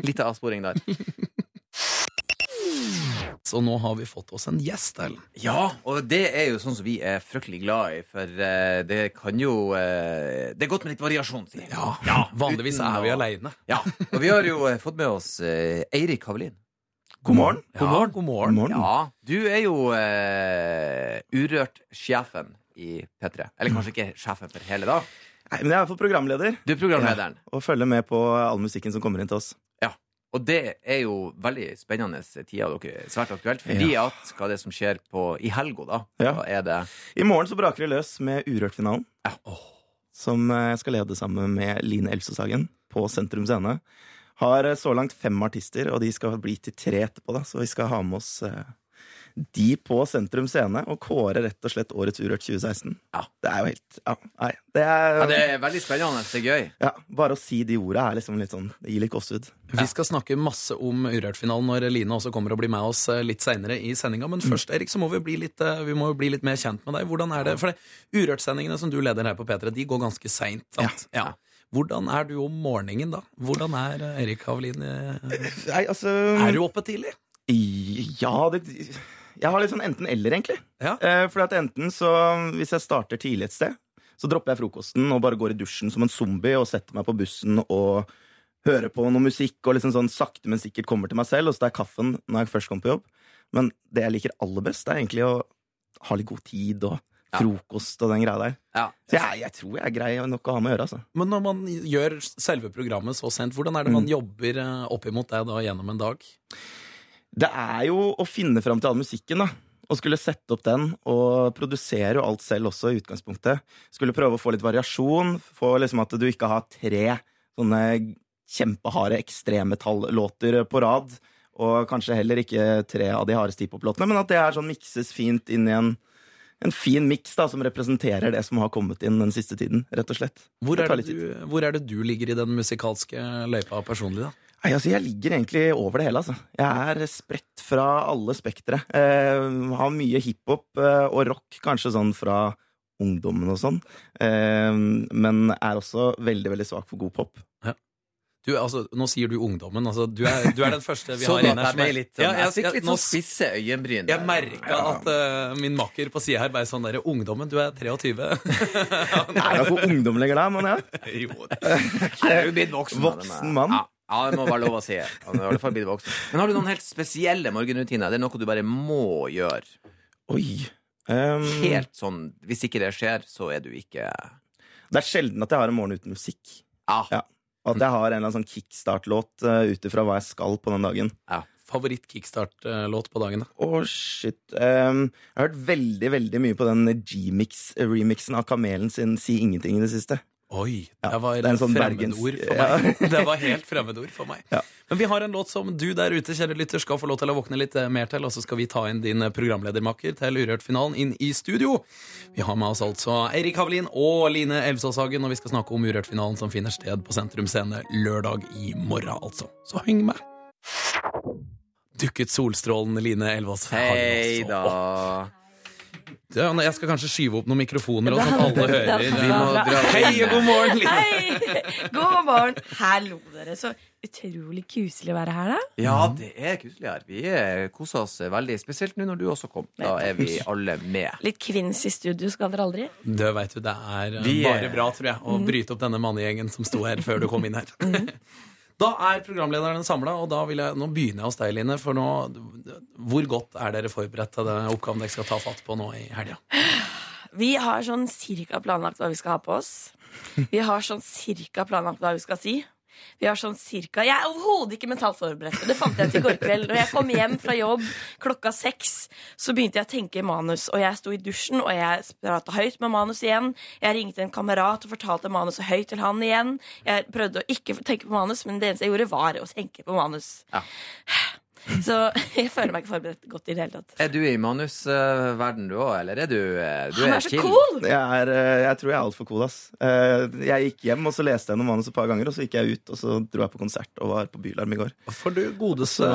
Speaker 3: Litt avsporing der.
Speaker 2: Så nå har vi fått oss en gjest, Ellen.
Speaker 3: Ja, og det er jo sånn som vi er fryktelig glad i, for eh, det kan jo eh, Det er godt med litt variasjon, sier jeg.
Speaker 2: Ah, Vanligvis
Speaker 3: uten
Speaker 2: er vi
Speaker 3: å-
Speaker 2: aleine.
Speaker 3: Ja. Og vi har jo eh, fått med oss eh, Eirik Havelin.
Speaker 6: God morgen.
Speaker 2: Ja, god morgen.
Speaker 3: Ja, du er jo eh, Urørt-sjefen i P3. Eller kanskje ikke sjefen for hele, da.
Speaker 6: Nei, men jeg er i hvert fall programleder
Speaker 3: Du er programlederen.
Speaker 6: og følger med på all musikken som kommer inn til oss.
Speaker 3: Og det er jo veldig spennende tider av dere. Svært aktuelt. Fordi at hva er det som skjer på, i helga, da?
Speaker 6: Ja.
Speaker 3: Da er det
Speaker 6: I morgen så braker det løs med Urørt-finalen,
Speaker 3: Ja.
Speaker 6: som eh, jeg skal lede sammen med Line Elsesagen på Sentrum Scene. Har eh, så langt fem artister, og de skal bli til tre etterpå, da, så vi skal ha med oss eh, de på Sentrum Scene og kåre rett og slett årets Urørt 2016.
Speaker 3: Ja.
Speaker 6: Det er jo helt Ja, nei. Det er,
Speaker 3: Ja, det er veldig spennende. Det er gøy.
Speaker 6: ja, bare å si de orda er liksom litt sånn Det gir litt gåsehud.
Speaker 2: Vi skal snakke masse om Urørt-finalen når Line også kommer og blir med oss eh, litt seinere i sendinga. Men først, Erik, så må vi bli litt, eh, vi må jo bli litt mer kjent med deg. Hvordan er det? For det- Urørt-sendingene som du leder her på P3, de går ganske seint. sant? Ja. Hvordan er du om morgenen, da? Hvordan er eh, Erik Havelin? eh,
Speaker 6: Nei, altså
Speaker 2: Er du oppe tidlig?
Speaker 6: Ja, det, jeg har litt sånn enten-eller, egentlig.
Speaker 2: Ja.
Speaker 6: Eh, fordi at enten så, hvis jeg starter tidlig et sted, så dropper jeg frokosten og bare går i dusjen som en zombie og setter meg på bussen og hører på noe musikk og liksom sånn sakte, men sikkert kommer til meg selv, og så tar jeg kaffen når jeg først kommer på jobb. Men det jeg liker aller best, det er egentlig å ha litt god tid og frokost og den greia der.
Speaker 3: Ja.
Speaker 6: Så jeg, jeg tror jeg er grei nok å ha med å gjøre, altså.
Speaker 2: Men når man gjør selve programmet så sent, hvordan er det man jobber eh, oppimot det da gjennom en dag?
Speaker 6: Det er jo å finne fram til all musikken, da. Og skulle sette opp den, og produsere jo alt selv også, i utgangspunktet. Skulle prøve å få litt variasjon, få liksom at du ikke har tre sånne kjempeharde ekstremmetallåter på rad. Og kanskje heller ikke tre av de hardeste hiphop-låtene, men at det her sånn mikses fint inn i en, en fin miks da, som representerer det som har kommet inn den siste tiden, rett og slett.
Speaker 2: Hvor er,
Speaker 6: tar
Speaker 2: det
Speaker 6: litt
Speaker 2: du, hvor er det du ligger i den musikalske løypa personlig, da?
Speaker 6: Nei, altså Jeg ligger egentlig over det hele. altså. Jeg er spredt fra alle spektre. Eh, har mye hiphop eh, og rock, kanskje sånn fra ungdommen og sånn. Eh, men er også veldig veldig svak for god pop.
Speaker 2: Du, altså, nå sier du ungdommen. Altså, du, er, du er den første vi har
Speaker 3: Sånn
Speaker 2: inne
Speaker 3: at
Speaker 2: her.
Speaker 3: jeg ble litt sånn
Speaker 2: ja,
Speaker 3: Jeg
Speaker 2: jeg,
Speaker 3: fikk
Speaker 2: jeg,
Speaker 3: litt
Speaker 2: nå,
Speaker 3: sånn spisse øyenbryn. der.
Speaker 2: jeg merka at eh, min makker på sida her ble sånn derre Ungdommen, du er 23.
Speaker 6: Er det hvor ungdom ligger da? Men ja.
Speaker 2: jo.
Speaker 3: Nei, du er jo blitt voksen. da,
Speaker 6: Voksen
Speaker 3: denne-
Speaker 6: mann.
Speaker 3: Ja. Ja, det må være lov å si. Han er i alle fall blitt voksen. Men har du noen helt spesielle morgenrutiner? Det er noe du bare må gjøre.
Speaker 6: Oi.
Speaker 2: Mm.
Speaker 6: Ehm,
Speaker 3: Helt sånn Hvis ikke det skjer, så er du ikke
Speaker 6: det er sjelden at jeg har en morgen uten musikk.
Speaker 3: Ja.
Speaker 6: Ja. Og at jeg har en eller annen sånn kickstart-låt uh, ut ifra hva jeg skal på den dagen.
Speaker 2: Favoritt-kickstart-låt eh, på dagen, da?
Speaker 6: Å, shit. Ehm, jeg har hørt veldig veldig mye på den G-mix-remixen av Kamelen sin Si ingenting i det siste.
Speaker 2: Oi,
Speaker 6: Ja,
Speaker 2: det var
Speaker 6: det er en sånn
Speaker 2: fremmedord
Speaker 6: bergens-
Speaker 2: for meg. Det var helt fremmedord for meg.
Speaker 6: Ja.
Speaker 2: Men vi har en låt som du der ute, kjære lytter, skal få lov til å våkne litt eh, mer til, og så skal vi ta inn din eh, programledermakker til Urørt-finalen inn i studio. Vi har med oss altså Eirik Havelin og Line Elvsås Hagen, og vi skal snakke om Urørt-finalen som finner sted på Sentrum Scene lørdag i morgen, altså. Så heng med. Dukket solstrålen Line Elvås Hagen
Speaker 3: Hei
Speaker 2: også opp?
Speaker 3: da.
Speaker 2: altså Ja, nei, Jeg skal kanskje skyve opp noen mikrofoner, og
Speaker 7: Det
Speaker 2: sånn at alle
Speaker 7: hadde- det
Speaker 2: hører.
Speaker 7: hadde
Speaker 2: Vi må
Speaker 7: vært
Speaker 2: dra Hei og god morgen! Line.
Speaker 7: Hei! God morgen. Hallo, dere. Så utrolig kuselig å være her, da.
Speaker 3: Ja, det er kuselig her. Vi eh, koser oss veldig, spesielt nå når du også kom. Da er vi alle med.
Speaker 7: Litt kvinns i studio skal dere aldri.
Speaker 2: Det vet du, det er eh,
Speaker 3: Vi er-
Speaker 2: bare bra, tror jeg, å bryte opp denne mannegjengen som sto her før du kom inn her. Da er programlederne samla, og da vil jeg, nå begynner jeg hos deg, Line. For nå, hvor godt er dere forberedt til den oppgaven dere skal ta fatt på nå i helga?
Speaker 7: Vi har sånn cirka planlagt hva vi skal ha på oss. Vi har sånn cirka planlagt hva vi skal si. Vi har sånn cirka Jeg er overhodet ikke mentalt forberedt. og Det fant jeg ut i går kveld. Når jeg kom hjem fra jobb klokka seks, så begynte jeg å tenke manus. Og jeg sto i dusjen, og jeg prata høyt med manus igjen. Jeg ringte en kamerat og fortalte manuset høyt til han igjen. Jeg prøvde å ikke tenke på manus, men det eneste jeg gjorde, var å tenke på manus.
Speaker 3: Ja.
Speaker 7: Så jeg føler meg ikke forberedt godt i det hele tatt.
Speaker 3: Er du i manusverden du òg, eller er du, eh, du
Speaker 7: Han
Speaker 3: er
Speaker 7: er så
Speaker 3: chill?
Speaker 7: cool!
Speaker 6: Jeg, er, eh, jeg tror jeg er altfor cool, ass. Eh, Jeg gikk hjem, og så leste jeg noen manus et par ganger, og så gikk jeg ut, og så dro jeg på konsert og var på Bylarm i går.
Speaker 2: For du godeste
Speaker 6: Så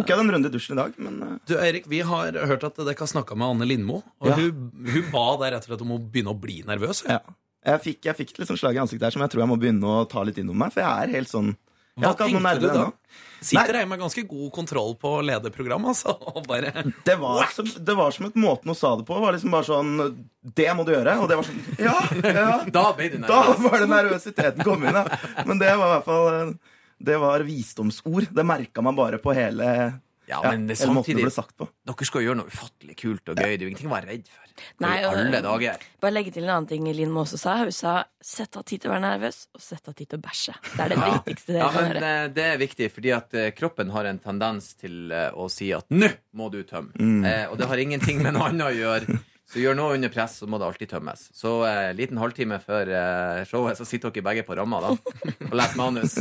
Speaker 6: tok jeg den runde i dusjen i dag, men eh,
Speaker 2: Du, Eirik, vi har hørt at dere har snakka med Anne Lindmo, og
Speaker 6: Ja.
Speaker 2: hun, hun ba deg rett og slett om å begynne å bli nervøs.
Speaker 6: ja. Jeg fikk, jeg fikk et litt sånn slag i ansiktet her som jeg tror jeg må begynne å ta litt innom meg, for jeg er helt sånn jeg har
Speaker 2: Hva
Speaker 6: ikke hatt noen
Speaker 2: tenkte du
Speaker 6: nerver
Speaker 2: da?
Speaker 6: ennå.
Speaker 2: Sitter jeg med ganske god kontroll på å lede program, altså. Og bare
Speaker 6: Det var, som, det var som et måten hun sa det på. Var liksom bare sånn Det må du gjøre. Og det var sånn Ja! ja.
Speaker 3: Da ble du
Speaker 6: Da
Speaker 3: nervøs.
Speaker 6: var det nervøsiteten kom inn, ja. Men det var i hvert fall eh, Det var visdomsord. Det merka man bare på hele
Speaker 3: Ja,
Speaker 6: ja,
Speaker 3: men det
Speaker 6: hele måten det
Speaker 3: samtidig
Speaker 6: ble sagt på.
Speaker 3: Dere skal jo gjøre noe ufattelig kult og gøy. Det er jo ingenting å være redd for. for
Speaker 7: Nei,
Speaker 3: i
Speaker 7: og-
Speaker 3: alle dager.
Speaker 7: Bare legge til en annen ting Linn Moe også sa. Hun sa 'sett av tid til å være nervøs, og sett av tid til å bæsje'. Det er det viktigste dere
Speaker 3: Ja,
Speaker 7: kan
Speaker 3: men
Speaker 7: gjøre.
Speaker 3: eh, Det er viktig, fordi at eh, kroppen har en tendens til eh, å si at 'nå må du tømme'. Eh, og det har ingenting med noe annet å gjøre. Så gjør noe under press, så må det alltid tømmes. Så eh, liten halvtime før eh, showet, så sitter dere begge på ramma da og leser manus.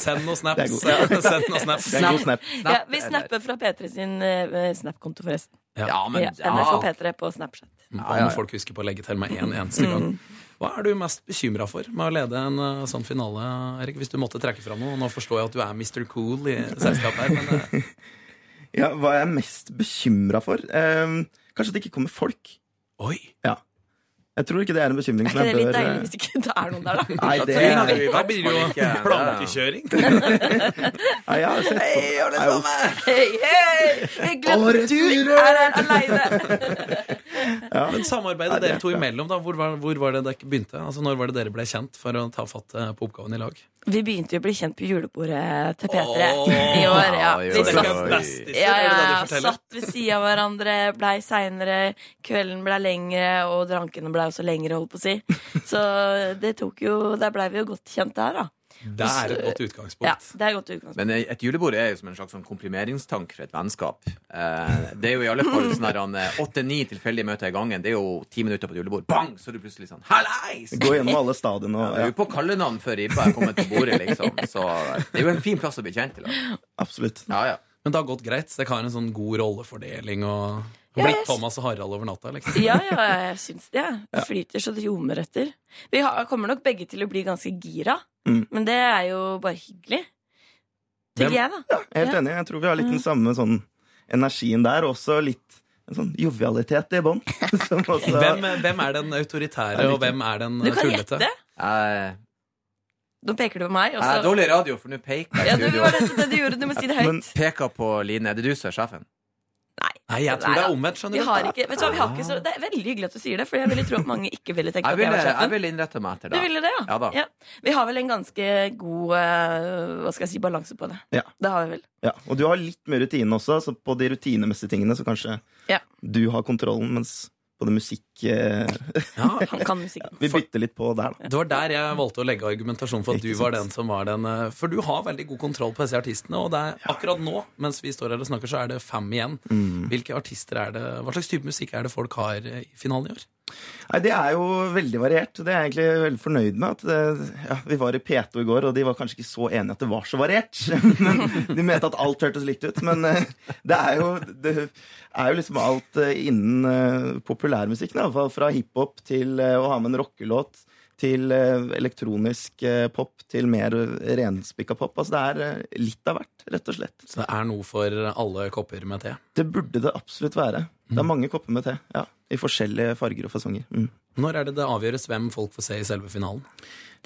Speaker 2: Send noen
Speaker 6: Det
Speaker 2: snaps.
Speaker 6: er
Speaker 2: Send noen snaps.
Speaker 6: Det er en god snap.
Speaker 7: Ja, vi snapper fra P3 sin eh, Snap-konto, forresten.
Speaker 3: Ja, men
Speaker 7: Ja, NRK P3 på Snapchat.
Speaker 2: Hva må folk huske på å legge til med en eneste gang?
Speaker 7: Mm.
Speaker 2: Hva er du mest bekymra for med å lede en eh, sånn finale, Erik? Hvis du måtte trekke fram noe. Nå forstår jeg at du er Mr. Cool i selskapet her, men eh,
Speaker 6: Ja, hva er jeg mest bekymra for? Eh, kanskje at det ikke kommer folk.
Speaker 2: oi!
Speaker 6: Jeg tror ikke det er en bekymring
Speaker 7: Er
Speaker 6: som
Speaker 7: ikke det
Speaker 6: jeg
Speaker 7: litt
Speaker 6: bør
Speaker 7: deilig
Speaker 6: eh,
Speaker 7: hvis det ikke er noen der, da?
Speaker 6: Nei, det
Speaker 3: Ja,
Speaker 6: nei,
Speaker 3: det er jo i
Speaker 2: Da
Speaker 3: hvert
Speaker 2: blir det
Speaker 3: fall
Speaker 2: jo
Speaker 3: ikke-
Speaker 2: plankekjøring.
Speaker 6: jeg har sett sånn.
Speaker 3: Hei, alle
Speaker 6: Nei, uff.
Speaker 3: sammen!
Speaker 7: Hei, hei! Jeg glemte
Speaker 6: Årets
Speaker 7: du
Speaker 6: fyrer!
Speaker 7: er her aleine!
Speaker 2: Men samarbeidet dere to imellom, da, hvor var, hvor var det dere begynte? Altså, Når var det dere ble kjent for å ta fatt eh, på oppgaven i lag?
Speaker 7: Vi begynte jo å bli kjent på julebordet til P3
Speaker 2: Åh.
Speaker 7: i år. Ja.
Speaker 3: Oi,
Speaker 7: Vi
Speaker 3: oi,
Speaker 7: satt
Speaker 3: oi.
Speaker 7: Ja, ja, ja.
Speaker 2: ja.
Speaker 7: Satt ved sida av hverandre, blei seinere, kvelden blei lengre, og drankene blei også lengre, holdt på å si. Så det tok jo Der blei vi jo godt kjent der, da.
Speaker 2: Det er et godt utgangspunkt.
Speaker 7: Ja, det er et godt utgangspunkt.
Speaker 3: Men et julebord er jo som en slags sånn komprimeringstank for et vennskap. Eh, det er jo i alle fall sånn åtte-ni tilfeldige møter i gangen. Det er jo ti minutter på et julebord. Bang! Så er du plutselig sånn Hallais!
Speaker 6: Gå gjennom alle stadiene og
Speaker 3: Det er
Speaker 6: ja,
Speaker 3: jo på kallenavn før ribba er kommet på bordet, liksom. Så det er jo en fin plass å bli kjent til. da.
Speaker 6: Absolutt.
Speaker 3: Ja, ja.
Speaker 2: Men det har gått greit. så Dere har en sånn god rollefordeling og
Speaker 7: Ja,
Speaker 2: blitt
Speaker 7: jeg-
Speaker 2: Thomas og Harald over natta. liksom.
Speaker 7: Ja, ja, jeg syns det. Det flyter så det ljomer etter. Vi har, kommer nok begge til å bli ganske gira,
Speaker 6: Mm.
Speaker 7: men det er jo bare hyggelig. Tenker jeg, da.
Speaker 6: Helt enig. Jeg tror vi har litt
Speaker 7: Mm.
Speaker 6: den samme sånn energien der, og også litt en sånn jovialitet i bånn. som også-
Speaker 2: Hvem, hvem er den autoritære, og hvem er den
Speaker 7: Du
Speaker 2: eh,
Speaker 7: kan
Speaker 2: tullete?
Speaker 7: gjette.
Speaker 3: Jeg
Speaker 7: Nå peker du på meg. Og
Speaker 3: Eh, jeg er
Speaker 7: så,
Speaker 3: dårlig i radio, for nå peker
Speaker 7: ja,
Speaker 3: jeg
Speaker 7: du
Speaker 3: i
Speaker 7: var
Speaker 3: studio.
Speaker 7: rett det du gjorde. Du må si det
Speaker 6: Men-
Speaker 7: høyt.
Speaker 3: Peker på Line. Er det du som er sjefen?
Speaker 7: Nei.
Speaker 2: Nei, jeg tror det er omvendt.
Speaker 7: Vi
Speaker 2: skjønner du.
Speaker 7: har ikke, vet du hva, vi har ikke så, det er veldig hyggelig at du sier det, for jeg ville tro at mange ikke ville
Speaker 3: Jeg
Speaker 7: tenkt at jeg
Speaker 3: ville,
Speaker 7: var
Speaker 3: jeg
Speaker 7: sjefen.
Speaker 3: ville innrette meg etter
Speaker 7: Du
Speaker 3: det.
Speaker 7: ville det, ja.
Speaker 3: Ja da.
Speaker 7: Vi har vel en ganske god eh, hva skal jeg si, balanse på det.
Speaker 6: Ja.
Speaker 7: Det har vi vel.
Speaker 6: Ja, og du har litt mer rutine også, så på de rutinemessige tingene så kanskje
Speaker 7: Ja.
Speaker 6: du har kontrollen, mens på det musikk eh,
Speaker 2: Ja,
Speaker 7: Han kan musikken.
Speaker 6: Vi bytter litt på der, da.
Speaker 2: Det var der jeg valgte å legge argumentasjonen for at du
Speaker 6: Ikke
Speaker 2: var
Speaker 6: sant.
Speaker 2: den som var den eh, For du har veldig god kontroll på disse artistene, og det er akkurat nå, mens vi står her og snakker, så er det fem igjen.
Speaker 6: Mm.
Speaker 2: Hvilke artister er det, Hva slags type musikk er det folk har eh, i finalen i år?
Speaker 6: Nei, Det er jo veldig variert. Det er jeg egentlig veldig fornøyd med. At det, ja, vi var i P2 i går, og de var kanskje ikke så enige at det var så variert. Men De mente at alt hørtes likt ut. Men eh, det er jo, det er jo liksom alt eh, innen eh, populærmusikken. i alle fall, Fra hiphop til eh, å ha med en rockelåt til eh, elektronisk eh, pop til mer eh, renspikka pop. Altså det er eh, litt av hvert, rett og slett.
Speaker 2: Så det er noe for alle kopper med te.
Speaker 6: Det burde det absolutt være. Det er mange kopper med te. Ja, I forskjellige farger og fasonger. Mm.
Speaker 2: Når er det det avgjøres hvem folk får se i selve finalen?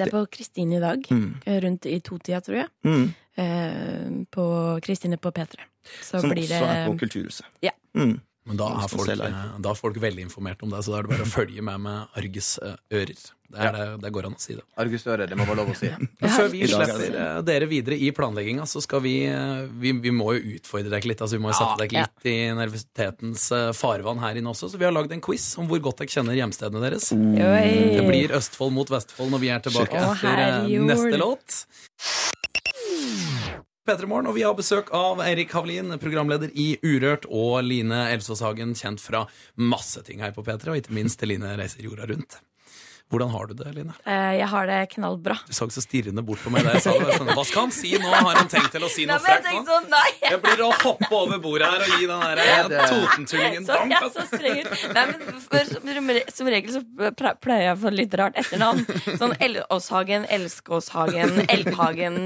Speaker 7: Det er på Kristine i dag. eh,
Speaker 6: Mm.
Speaker 7: Rundt i totida, tror jeg.
Speaker 6: Mm.
Speaker 7: Eh, på Kristine på P3. Så
Speaker 6: Som
Speaker 7: blir det um,
Speaker 6: også er på Kulturhuset.
Speaker 7: Ja.
Speaker 6: Mm.
Speaker 2: Men da er,
Speaker 6: Hvis man
Speaker 2: folk,
Speaker 6: ser live.
Speaker 2: eh, da er folk veldig informert om deg, så da er det bare å følge med med Arges eh, ører. Det, er det, det går an å si det.
Speaker 3: Argus Øre, det må være lov å si.
Speaker 2: Men før vi
Speaker 6: I dag er
Speaker 2: slipper
Speaker 6: det-
Speaker 2: eh, dere videre i planlegginga, så skal vi, eh, vi Vi må jo utfordre dere litt. Altså, vi må jo sette dere
Speaker 7: Ja.
Speaker 2: litt i nervøsitetens eh, farvann her inne også. Så vi har lagd en quiz om hvor godt dere kjenner hjemstedene deres. Det blir Østfold mot Vestfold når vi er tilbake
Speaker 7: Å,
Speaker 2: etter eh,
Speaker 7: herjord.
Speaker 2: neste låt. Petremorgen, og Vi har besøk av Eirik Havlin, programleder i Urørt, og Line Elsås Hagen, kjent fra masse ting her på P3, og ikke minst til Line reiser jorda rundt. Hvordan har du det, Line?
Speaker 7: Eh, Jeg har det knallbra.
Speaker 2: Du så så stirrende bort på meg da jeg sa det. Jeg skjønner, Hva skal han si nå? Har han tenkt til å si
Speaker 7: Nei,
Speaker 2: noe
Speaker 7: men jeg
Speaker 2: frekt
Speaker 7: tenkte
Speaker 2: nå?
Speaker 7: sånn, nei!
Speaker 2: Jeg blir å hoppe over bordet her og gi den
Speaker 3: Er
Speaker 2: der eh,
Speaker 3: det-
Speaker 2: totentullingen altså.
Speaker 7: Så
Speaker 2: dank.
Speaker 7: jeg er
Speaker 2: ass.
Speaker 7: så
Speaker 3: altså.
Speaker 7: streng ut. Nei, men for, som, re- som regel så pra- pleier jeg å få litt rart etternavn. Sånn Elåshagen, Elskåshagen, Elghagen.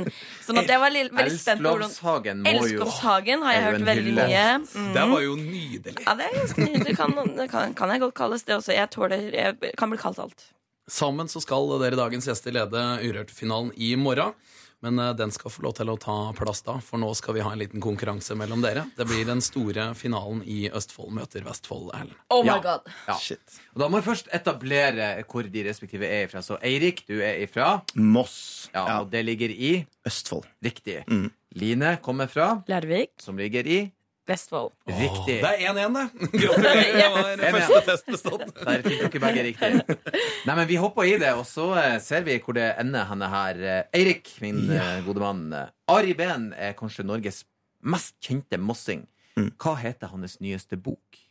Speaker 7: Sånn at jeg var litt, veldig spent på hvordan
Speaker 3: Elsklovshagen må jo
Speaker 7: Elskovshagen har jeg
Speaker 3: er jo
Speaker 7: hørt
Speaker 3: en
Speaker 7: veldig
Speaker 3: hylle.
Speaker 7: mye. Mm.
Speaker 2: Det var jo nydelig.
Speaker 7: Ja, det er ganske nydelig. Kan, kan, kan jeg godt kalles det også. Jeg tåler Jeg kan bli kalt alt.
Speaker 2: Sammen så skal dere dagens gjester lede Urørt-finalen i morgen. Men eh, den skal få lov til å ta plass da, for nå skal vi ha en liten konkurranse mellom dere. Det blir den store finalen i Østfold møter Vestfold, Erlend.
Speaker 7: Oh
Speaker 3: my
Speaker 7: my
Speaker 3: Ja.
Speaker 7: god.
Speaker 3: Ja.
Speaker 6: Shit.
Speaker 3: Og da må vi først etablere hvor de respektive er ifra. Så Eirik, du er ifra.
Speaker 6: Moss.
Speaker 3: Ja,
Speaker 6: Ja.
Speaker 3: Og det ligger i
Speaker 6: Østfold.
Speaker 3: Riktig.
Speaker 6: Mm.
Speaker 3: Line kommer fra,
Speaker 7: Larvik,
Speaker 3: som ligger i
Speaker 7: Vestfold.
Speaker 3: Riktig.
Speaker 2: Åh, Det er 1-1, det. Gratulerer. Det var
Speaker 3: Ja.
Speaker 2: første test bestått.
Speaker 3: Der fikk dere begge riktig. Nei, men Vi hopper i det, og så eh, ser vi hvor det ender henne her. Eh, Eirik, min eh, gode mann. eh, Ari Behn er kanskje Norges mest kjente mossing.
Speaker 6: Mm.
Speaker 3: Hva heter hans nyeste bok?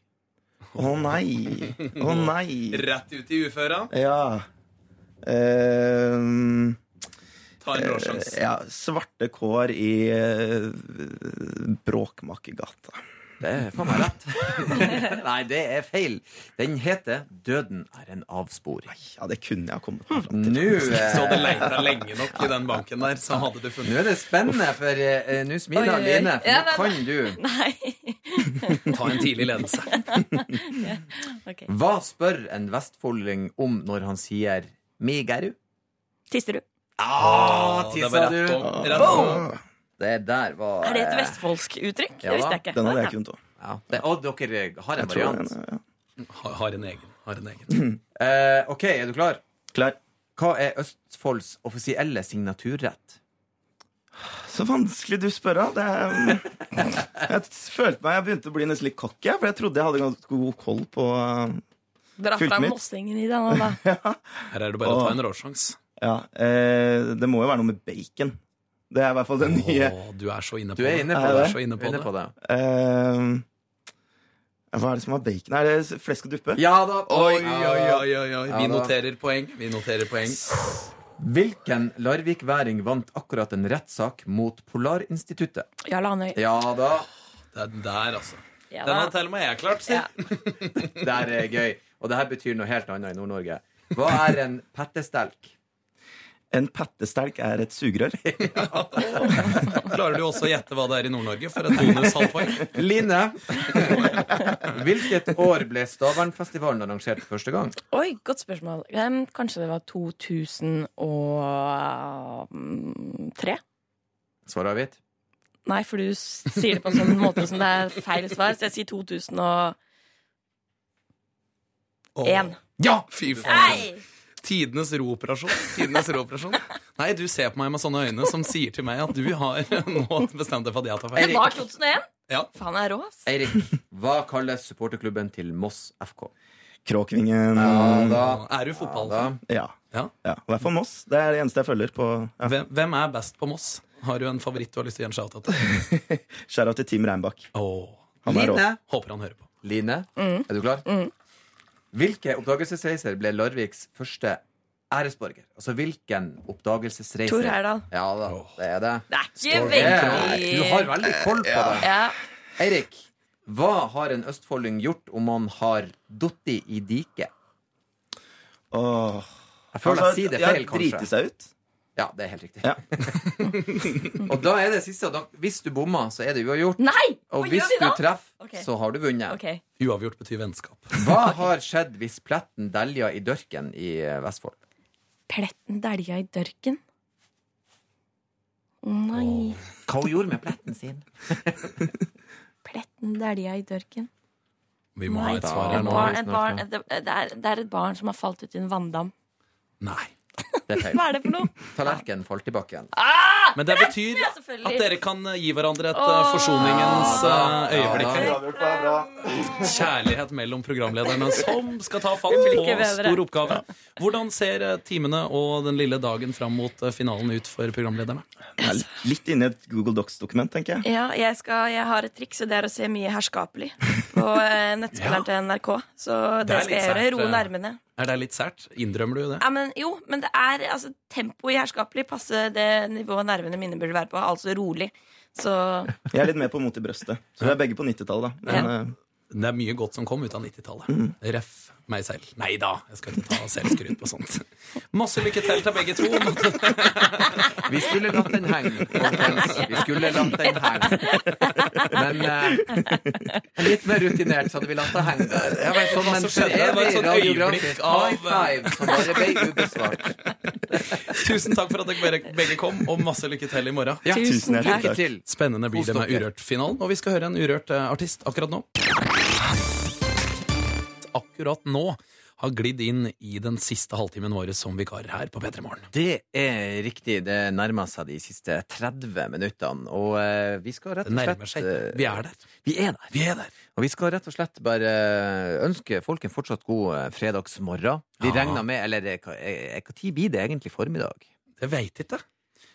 Speaker 6: Å nei! Å nei!
Speaker 2: Rett ut i uføra.
Speaker 6: Ja. Ehm,
Speaker 2: Ta en
Speaker 6: eh,
Speaker 2: råsjanse.
Speaker 6: ja svarte kår i eh, Bråkmakergata.
Speaker 3: Det er faen meg rett. Nei, det er feil. Den heter Døden er en avsporing.
Speaker 6: Ja, det kunne jeg ha kommet meg fram til.
Speaker 3: Nå
Speaker 2: Så hadde
Speaker 3: eh,
Speaker 2: leita lenge nok i den banken der, så hadde du
Speaker 3: nå
Speaker 2: funnet
Speaker 3: er det spennende, for eh, nå
Speaker 7: Oi,
Speaker 3: smiler
Speaker 7: oi, oi.
Speaker 3: Line.
Speaker 7: Ja,
Speaker 3: For nå
Speaker 7: nei,
Speaker 3: kan du.
Speaker 7: Nei.
Speaker 2: Ta en tidlig
Speaker 3: Ah,
Speaker 2: ledelse.
Speaker 7: Ok.
Speaker 3: Hva spør en vestfolding om når han sier 'mi gæru'?
Speaker 7: Tisserud.
Speaker 3: Ah,
Speaker 2: Det
Speaker 3: tissa
Speaker 2: var
Speaker 3: du!
Speaker 2: rett på. Rett på.
Speaker 6: Ah,
Speaker 3: Det der var
Speaker 7: Er det et
Speaker 3: eh,
Speaker 7: vestfoldsk uttrykk?
Speaker 3: Ja,
Speaker 7: det visste jeg ikke.
Speaker 6: Den hadde jeg kunnet òg.
Speaker 3: Ja. Det, og dere har en
Speaker 6: Jeg tror den
Speaker 3: variant.
Speaker 6: er- ja.
Speaker 2: Har- Har en egen. Har en egen.
Speaker 3: Eh, OK, er du klar?
Speaker 6: Klar.
Speaker 3: Hva er Østfolds offisielle signaturrett?
Speaker 6: Så vanskelig du spør av. Det er, um, jeg følte meg Jeg begynte å bli nesten litt cocky, for jeg trodde jeg hadde ganske god koll på
Speaker 7: Dra
Speaker 6: Fullt
Speaker 7: fram
Speaker 6: mitt.
Speaker 7: mossingen i deg nå, da.
Speaker 2: Her er det bare å
Speaker 3: Ah.
Speaker 2: ta en råsjanse.
Speaker 6: Ja, eh, det må jo være noe med bacon. Det er i hvert fall det nye.
Speaker 2: Åh, du er så inne på
Speaker 3: Du er inne på
Speaker 6: Er
Speaker 2: Du
Speaker 3: det.
Speaker 2: er så inne på
Speaker 3: Inne
Speaker 2: det.
Speaker 3: på det.
Speaker 6: Eh, hva er det som har bacon? Er det flesk og duppe?
Speaker 3: Ja da.
Speaker 2: Oi, oi, oi, oi, oi.
Speaker 3: Ja,
Speaker 2: Vi
Speaker 3: da.
Speaker 2: noterer poeng. Vi noterer poeng.
Speaker 3: Hvilken larvikværing vant akkurat en rettssak mot Polarinstituttet?
Speaker 7: Jarl Hanøy.
Speaker 3: Ja da.
Speaker 2: Det er der, altså.
Speaker 7: Ja,
Speaker 2: Den har
Speaker 7: da.
Speaker 2: til og med jeg klart, si.
Speaker 7: Ja.
Speaker 3: Det her er gøy. Og det her betyr noe helt annet i Nord-Norge. Hva er en pattestelk?
Speaker 6: En pattestelk er et sugerør.
Speaker 2: Klarer du også å gjette hva det er i Nord-Norge for et bonushalvpoeng?
Speaker 3: Line, hvilket år ble Stavernfestivalen arrangert for første gang?
Speaker 7: Oi, godt spørsmål. Em, kanskje det var 2003?
Speaker 3: Svar avgitt.
Speaker 7: Nei, for du s- sier det på en sånn måte som det er feil svar, så jeg sier 2001.
Speaker 2: Ja! Fy faen.
Speaker 7: Nei!
Speaker 2: Tidenes rooperasjon. Tidenes rooperasjon. Nei, du ser på meg med sånne øyne som sier til meg at du har nå bestemt deg for at jeg tar
Speaker 7: Det
Speaker 2: feil.
Speaker 7: var 2001!
Speaker 2: Ja.
Speaker 7: Faen, jeg er rå, ass.
Speaker 3: Eirik, hva kalles supporterklubben til Moss FK?
Speaker 6: Kråkvingen.
Speaker 3: da.
Speaker 2: Er du
Speaker 3: da.
Speaker 2: fotballfan?
Speaker 6: Ja.
Speaker 2: Ja.
Speaker 6: ja. I hvert fall Moss. Det er det eneste jeg følger på. Ja.
Speaker 2: Hvem hvem er best på Moss? Har du en favoritt du har lyst til å gi en shout-out til?
Speaker 6: Skjær av til Team Reinbakk.
Speaker 2: Åh,
Speaker 6: Han er rå.
Speaker 3: Line,
Speaker 2: håper han hører på.
Speaker 3: Line
Speaker 7: Mm.
Speaker 3: er du klar? Hvilke oppdagelsesreiser ble Larviks første æresborger? Altså hvilken oppdagelsesreise?
Speaker 7: Tor Heyerdahl.
Speaker 3: Ja da, det er det.
Speaker 7: Det er ikke
Speaker 3: Det er, du
Speaker 7: veldig
Speaker 3: har veldig koll på det.
Speaker 7: ja.
Speaker 3: Eirik, hva har en østfolding gjort om han har dotti i diket?
Speaker 6: Åh.
Speaker 3: Jeg føler jeg sier det feil, kanskje.
Speaker 6: Drite seg ut.
Speaker 3: Ja, det er helt riktig.
Speaker 6: Ja.
Speaker 3: og da er det siste. og Da, hvis du bommer, så er det uavgjort.
Speaker 7: Nei!
Speaker 3: Og
Speaker 7: Hva
Speaker 3: hvis
Speaker 7: gjør vi
Speaker 3: du
Speaker 7: da?
Speaker 3: treffer,
Speaker 7: Ok.
Speaker 3: så har du vunnet.
Speaker 7: Ok,
Speaker 2: Uavgjort betyr vennskap.
Speaker 3: Hva har skjedd hvis pletten delja i dørken i eh, Vestfold?
Speaker 7: Pletten dælja i dørken. Nei,
Speaker 3: Hva hun gjorde med pletten sin?
Speaker 7: pletten dælja i dørken.
Speaker 2: Vi må ha
Speaker 7: Nei.
Speaker 2: et svar her
Speaker 7: Et
Speaker 2: nå.
Speaker 3: har
Speaker 7: barn,
Speaker 3: vi
Speaker 7: et
Speaker 3: snart
Speaker 7: barn,
Speaker 3: noe.
Speaker 7: et, det, er, det er et barn som har falt uti en vanndam.
Speaker 2: Nei.
Speaker 3: Det er feil.
Speaker 7: Hva er det for noe?
Speaker 3: Tallerkenen falt i bakken.
Speaker 2: Men det betyr
Speaker 7: Ja,
Speaker 2: at
Speaker 7: selvfølgelig.
Speaker 2: dere kan eh, gi hverandre et eh, forsoningens eh, øyeblikk her. Kjærlighet mellom programlederne som skal ta fatt
Speaker 7: blir
Speaker 2: på
Speaker 7: ikke bedre.
Speaker 2: stor oppgave. Hvordan ser eh, timene og den lille dagen fram mot eh, finalen ut for programlederne?
Speaker 6: Jeg
Speaker 3: Altså.
Speaker 6: er litt inne i et Google Docs-dokument, tenker jeg.
Speaker 7: Ja, jeg, skal, jeg har et triks, og det er å se mye herskapelig på eh, nettspilleren til NRK. Så det,
Speaker 2: Det er
Speaker 7: skal
Speaker 2: litt
Speaker 7: jeg gjøre.
Speaker 2: sært,
Speaker 7: Roe
Speaker 2: eh.
Speaker 7: nervene.
Speaker 2: Er det litt sært? Innrømmer du det?
Speaker 7: Ja, men, jo, men det er altså, tempoet i herskapelig passer det nivået nervene mine burde være på. Altså rolig. Så
Speaker 6: Jeg er litt mer på mot i brøstet. Så vi er begge på 90-tallet, da. Men eh,
Speaker 2: Det er mye godt som kom ut av 90-tallet. Ref meg selv. Nei da, jeg skal ikke ta selvskryt på sånt. Masse lykke til til begge to.
Speaker 3: Vi skulle latt den henge. folkens. Vi skulle latt den henge. Men eh, litt mer rutinert så hadde vi latt det henge der. Det var sånn,
Speaker 2: hva
Speaker 3: men
Speaker 2: som skjedde. Det var et sånt øyeblikk av-
Speaker 3: high five som bare ble ubesvart.
Speaker 2: Tusen takk for at dere begge- begge kom, og masse lykke til i morgen.
Speaker 3: Ja,
Speaker 7: Tusen
Speaker 6: tusen hjertelig
Speaker 7: takk.
Speaker 3: lykke
Speaker 6: takk.
Speaker 3: til.
Speaker 2: Spennende blir det med
Speaker 3: Kos dere.
Speaker 2: Urørt-finalen, og vi skal høre en urørt eh, artist akkurat nå. Akkurat nå har glidd inn i den siste halvtimen vår som vikarer her på P3 Morgen.
Speaker 3: Det er riktig. Det nærmer seg de siste 30 minuttene. Og eh, vi skal rett
Speaker 2: Det
Speaker 3: og
Speaker 2: nærmer
Speaker 3: slett
Speaker 2: seg. Vi er der.
Speaker 3: eh, Vi er der.
Speaker 2: Vi er der.
Speaker 3: Og vi skal rett og slett bare eh, ønske folk en fortsatt god eh, fredagsmorgen. Vi
Speaker 2: Ja.
Speaker 3: regner med Eller eh, hva eh, hva tid blir det egentlig formiddag?
Speaker 2: Jeg veit ikke.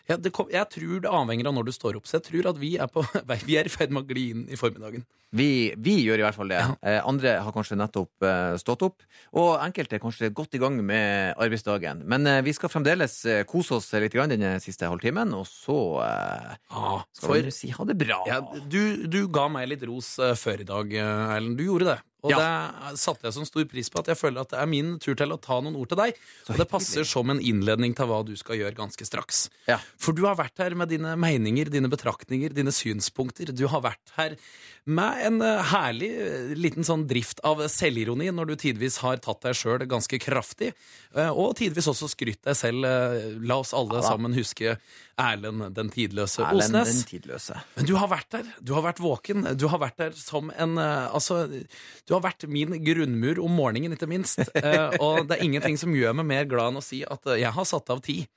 Speaker 2: Ja, det kom, jeg tror det avhenger av når du står opp, så jeg tror at vi er, på, vei- vi er i ferd med å gli inn i formiddagen.
Speaker 3: Vi, vi gjør i hvert fall det. Eh, Andre har kanskje nettopp eh, stått opp. Og enkelte er kanskje godt i gang med arbeidsdagen. Men eh, vi skal fremdeles eh, kose oss litt grann den siste halvtimen, og så eh,
Speaker 2: Ah,
Speaker 3: skal
Speaker 2: for
Speaker 3: vi si ha det bra.
Speaker 2: ja, du, du ga meg litt ros eh, før i dag, eh, Erlend. Du gjorde det. Og det satte jeg som stor pris på. At jeg føler at det er min tur til å ta noen ord til deg. Og det passer som en innledning til hva du skal gjøre ganske straks.
Speaker 3: Ja.
Speaker 2: For du har vært her med dine meninger, dine betraktninger, dine synspunkter. Du har vært her med en eh, herlig eh, liten sånn drift av selvironi, når du tidvis har tatt deg sjøl ganske kraftig, eh, og tidvis også skrytt deg selv. eh, La oss alle sammen huske Erlend den tidløse
Speaker 3: Erlend
Speaker 2: Osnes.
Speaker 3: den tidløse.
Speaker 2: Men du har vært der. Du har vært våken. Du har vært der som en eh, Altså, du har vært min grunnmur om morgenen, ikke minst. Eh, og det er ingenting som gjør meg mer glad enn å si at eh, jeg har satt av tid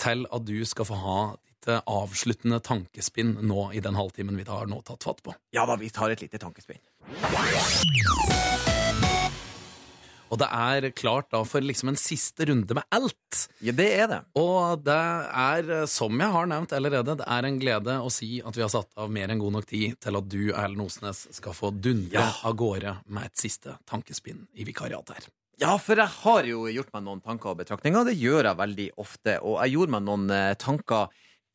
Speaker 2: til at du skal få ha ditt eh, avsluttende tankespinn nå i den halvtimen vi har nå tatt fatt på.
Speaker 3: Ja da, vi tar et lite tankespinn.
Speaker 2: Og det er klart da for liksom en siste runde med alt.
Speaker 3: Ja, det er det.
Speaker 2: Og det er, eh, som jeg har nevnt allerede, det er en glede å si at vi har satt av mer enn god nok tid til at du, Erlend Osnes, skal få dundre av gårde med et siste tankespinn i vikariatet her.
Speaker 3: Ja, for jeg har jo gjort meg noen tanker og betraktninger. Det gjør jeg veldig ofte. Og jeg gjorde meg noen eh, tanker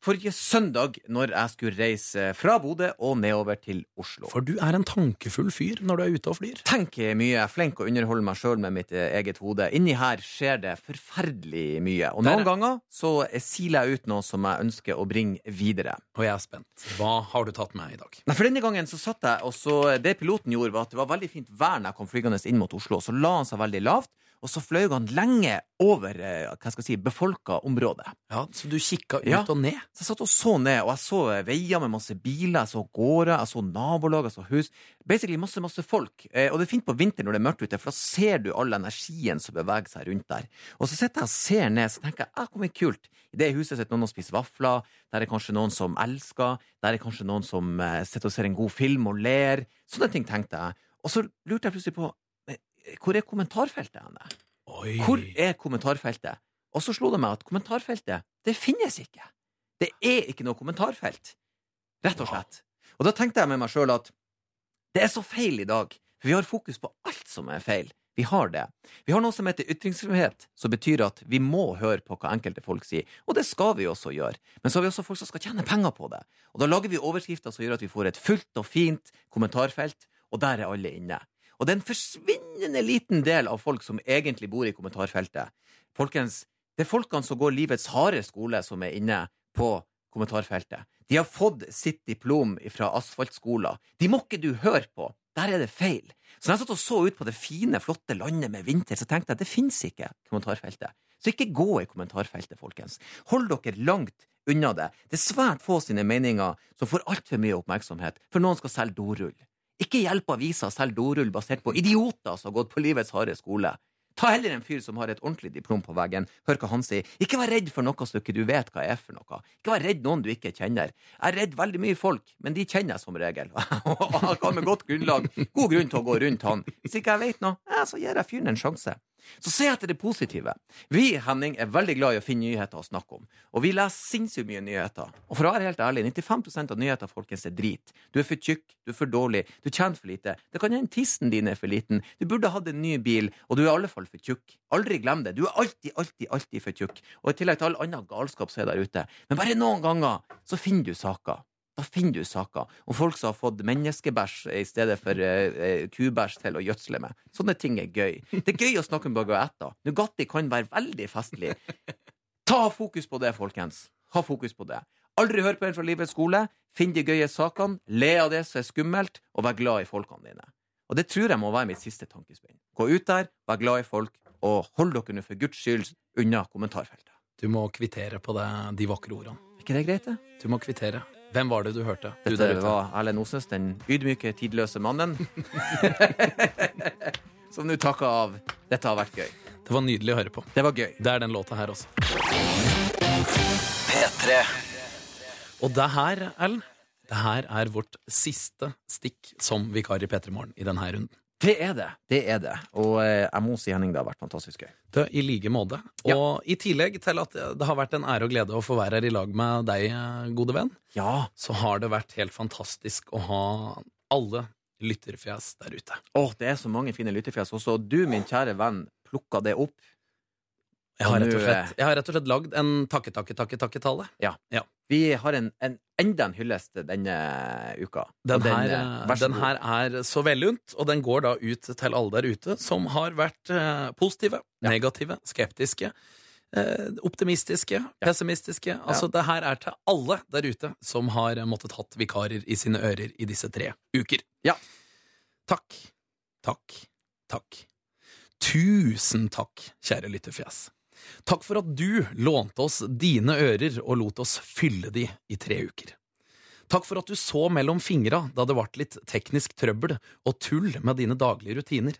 Speaker 3: forrige søndag når jeg skulle reise eh, fra Bodø og nedover til Oslo.
Speaker 2: For du er en tankefull fyr når du er ute og flyr.
Speaker 3: tenker mye, jeg er flink å underholde meg sjøl med mitt eh, eget hode. Inni her skjer det forferdelig mye. Og
Speaker 2: Der,
Speaker 3: noen
Speaker 2: ja.
Speaker 3: ganger så eh, siler jeg ut noe som jeg ønsker å bringe videre.
Speaker 2: Og jeg er spent. Hva har du tatt med i dag?
Speaker 3: Nei, for denne gangen så satt jeg, og så det piloten gjorde var at det var veldig fint vær når jeg kom flygende inn mot Oslo, så la han seg veldig lavt, og så fløy han lenge over, eh, hva skal jeg si, befolka område.
Speaker 2: Ja, Så du kikka ut
Speaker 3: Ja.
Speaker 2: og ned?
Speaker 3: Så jeg satt og så ned, og jeg så veier med masse biler, jeg så gårder, jeg så nabolag, jeg så hus. Basically masse, masse folk. Eh, og det er fint på vinteren når det er mørkt ute, for da ser du all energien som beveger seg rundt der. Og så sitter jeg og ser ned, så tenker jeg, ah, hvor mye kult. I det huset sitter noen og spiser vafler, der er kanskje noen som elsker, der er kanskje noen som eh, sitter og ser en god film og ler. Sånne ting tenkte jeg. Og så lurte jeg plutselig på, men, eh, hvor er kommentarfeltet henne?
Speaker 2: Oi.
Speaker 3: Hvor er kommentarfeltet? Og så slo det meg at kommentarfeltet, det finnes ikke. Det er ikke noe kommentarfelt. Rett og slett. Og da tenkte jeg med meg sjøl at det er så feil i dag, for vi har fokus på alt som er feil. Vi har det. Vi har noe som heter ytringsfrihet, som betyr at vi må høre på hva enkelte folk sier, og det skal vi også gjøre. Men så har vi også folk som skal tjene penger på det. Og da lager vi overskrifter som gjør at vi får et fullt og fint kommentarfelt, og der er alle inne. Og det er en forsvinnende liten del av folk som egentlig bor i kommentarfeltet. Folkens, det er folkene som går livets harde skole, som er inne på kommentarfeltet. De har fått sitt diplom fra asfaltskoler. De må ikke du høre på! Der er det feil. Så når jeg satt og så ut på det fine, flotte landet med vinter, så tenkte jeg det fins ikke kommentarfeltet. Så ikke gå i kommentarfeltet, folkens. Hold dere langt unna det. Det er svært få sine meninger som får altfor mye oppmerksomhet, for noen skal selge dorull. Ikke hjelp avisa å selge dorull basert på idioter som har gått på livets harde skole. Ta heller en fyr som har et ordentlig diplom på veggen. Hør hva han sier. Ikke vær redd for noe som ikke du vet hva er for noe. Ikke vær redd noen du ikke kjenner. Jeg er redd veldig mye folk, men de kjenner jeg som regel. Og han kan med godt grunnlag god grunn til å gå rundt han. Hvis ikke jeg vet noe, ja, så gir jeg fyren en sjanse. Så se etter det positive. Vi Henning, er veldig glad i å finne nyheter å snakke om. Og vi leser sinnssykt mye nyheter. Og for å være helt ærlig, 95 av nyheter folkens, er drit. Du er for tjukk, du er for dårlig, du tjener for lite. Det kan hende tissen din er for liten, du burde hatt en ny bil, og du er i alle fall for tjukk. Aldri glem det. Du er alltid, alltid, alltid for tjukk. Og i tillegg til all annen galskap som er der ute. Men bare noen ganger så finner du saker. Da finner du saker om folk som har fått menneskebæsj i stedet for eh, eh, kubæsj til å gjødsle med. Sånne ting er gøy. Det er gøy å snakke om baguetter. Nugatti kan være veldig festlig. Ta fokus på det, folkens. Ha fokus på det. Aldri hør på en fra livets skole. Finn de gøye sakene, le av det som er skummelt, og vær glad i folkene dine. Og det tror jeg må være mitt siste tankespinn. Gå ut der, vær glad i folk, og hold dere nå for guds skyld unna kommentarfeltet.
Speaker 2: Du må kvittere på det, de vakre ordene.
Speaker 3: Er ikke det greit, det?
Speaker 2: Du må kvittere. Hvem var det du hørte? Du
Speaker 3: Dette
Speaker 2: der ute.
Speaker 3: var Erlend Osnes, den ydmyke, tidløse mannen. Som nå takker av. Dette har vært gøy.
Speaker 2: Det var nydelig å høre på.
Speaker 3: Det var gøy.
Speaker 2: Det er den låta her også.
Speaker 1: P3.
Speaker 2: Og det her, Erlend, det her er vårt siste stikk som vikar i P3 Morgen i denne runden.
Speaker 3: Det er det. Det er det. Og eh, jeg må si, Henning, det har vært fantastisk gøy.
Speaker 2: Det, I like måte. Og i tillegg til at det har vært en ære og glede å få være her i lag med deg, eh, gode venn,
Speaker 3: Ja.
Speaker 2: så har det vært helt fantastisk å ha alle lytterfjes der ute.
Speaker 3: Åh, det er så mange fine lyttefjes. Også du, min kjære venn, plukka det opp.
Speaker 2: Jeg har
Speaker 3: Og
Speaker 2: rett og
Speaker 3: nå,
Speaker 2: slett, jeg har rett og slett lagd en takke-takke-takke-takke-tale.
Speaker 3: Vi har en, en, enda en hyllest denne uka.
Speaker 2: Den,
Speaker 3: Og den,
Speaker 2: her,
Speaker 3: eh,
Speaker 2: eh,
Speaker 3: vær så
Speaker 2: den
Speaker 3: god.
Speaker 2: her er så vellunt, og den går da ut til alle der ute som har vært eh, positive, negative, skeptiske, eh, optimistiske, pessimistiske. Altså, det her er til alle der ute som har eh, måttet hatt vikarer i sine ører i disse tre uker.
Speaker 3: Ja.
Speaker 2: Takk, takk, takk. Tusen takk, kjære lytterfjes. Takk for at du lånte oss dine ører og lot oss fylle de i tre uker. Takk for at du så mellom fingra da det vart litt teknisk trøbbel og tull med dine daglige rutiner.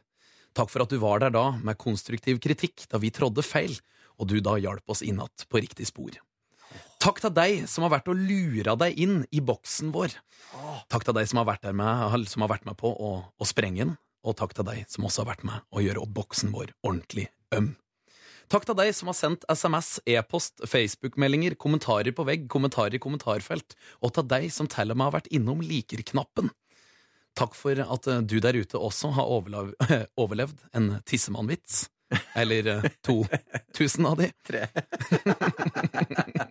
Speaker 2: Takk for at du var der da med konstruktiv kritikk da vi trådde feil, og du da hjalp oss inn att på riktig spor. Takk til deg som har vært og lura deg inn i boksen vår. Takk til deg som har vært, der med, som har vært med på å, å sprenge den, og takk til deg som også har vært med å gjøre opp boksen vår ordentlig øm. Takk til deg som har sendt SMS, e-post, Facebook-meldinger, kommentarer på vegg, kommentarer i kommentarfelt, og til deg som til og med har vært innom liker-knappen. Takk for at eh, du der ute også har overlev overlevd en tissemannvits. Eller eh, to tusen av de.
Speaker 3: Tre.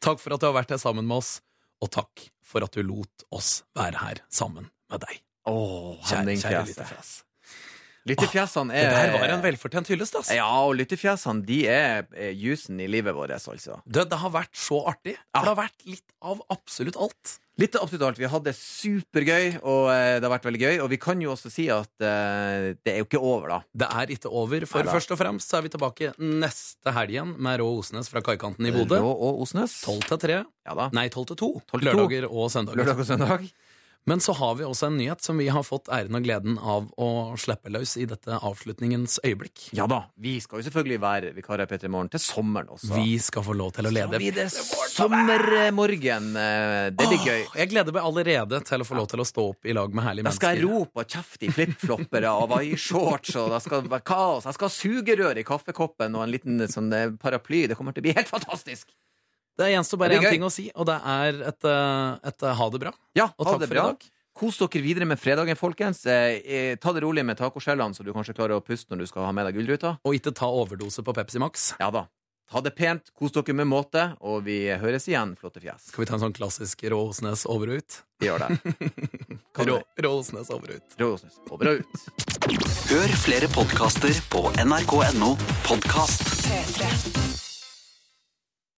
Speaker 2: takk for at du har vært her sammen med oss, og takk for at du lot oss være her sammen med deg.
Speaker 3: Åh,
Speaker 2: Kjære,
Speaker 3: Henning
Speaker 2: kjære
Speaker 3: Fjes.
Speaker 2: lille fjes.
Speaker 3: Lyttefjesene
Speaker 2: Det der
Speaker 3: er
Speaker 2: var en velfortjent hyllest, ass.
Speaker 3: Eh. Ja, og lyttefjesene, de er eh, jusen i livet vårt, altså.
Speaker 2: Det, det har vært så artig. For det har vært litt av absolutt alt.
Speaker 3: Litt av absolutt alt. Vi hadde det supergøy, og eh, det har vært veldig gøy. Og vi kan jo også si at eh, det er jo ikke over, da.
Speaker 2: Det er ikke over, for
Speaker 3: Neida.
Speaker 2: først og fremst så er vi tilbake neste helg igjen med Rå Osnes fra kaikanten i Bodø.
Speaker 3: Rå og Osnes.
Speaker 2: 12 til 3,
Speaker 3: Ja da.
Speaker 2: nei 12 til 2,
Speaker 3: 12 til
Speaker 2: lørdager og søndager.
Speaker 3: Lørdag og søndag.
Speaker 2: Men så har vi også en nyhet som vi har fått æren og gleden av å slippe løs i dette avslutningens øyeblikk.
Speaker 3: Ja da. Vi skal jo selvfølgelig være vikarer i P3 Morgen til sommeren også.
Speaker 2: Vi skal få lov til å
Speaker 3: Så
Speaker 2: lede.
Speaker 3: blir det sommermorgen. eh, Det blir gøy.
Speaker 2: Åh, Jeg gleder meg allerede til å få lov til å stå opp i lag med herlige
Speaker 3: Da skal jeg
Speaker 2: mennesker.
Speaker 3: rope og kjefte i flipfloppere og i shorts, og det skal være kaos. Jeg skal ha sugerør i kaffekoppen og en liten sånn eh, paraply. Det kommer til å bli helt fantastisk!
Speaker 2: Det gjenstår
Speaker 3: Det
Speaker 2: bare
Speaker 3: blir
Speaker 2: én
Speaker 3: gøy.
Speaker 2: ting å si, og det er et, eh, et eh, ha det bra.
Speaker 3: Ja,
Speaker 2: Og
Speaker 3: ha
Speaker 2: takk
Speaker 3: det
Speaker 2: for i
Speaker 3: bra.
Speaker 2: dag.
Speaker 3: Kos dere videre med fredagen, folkens. Eh, eh, ta det rolig med tacoskjellene, så du kanskje klarer å puste når du skal ha med deg gullruta.
Speaker 2: Og ikke ta overdose på Pepsi Max.
Speaker 3: Ja da. Ta det pent, kos dere med måte, og vi høres igjen, flotte fjes.
Speaker 2: Skal vi ta en sånn klassisk Rå Osnes over og ut?
Speaker 3: Vi gjør det. Kan
Speaker 2: Rå,
Speaker 3: det.
Speaker 2: Rålsnes over og ut.
Speaker 3: Råsnes over og ut.
Speaker 1: Hør flere podkaster på nrk.no podkast.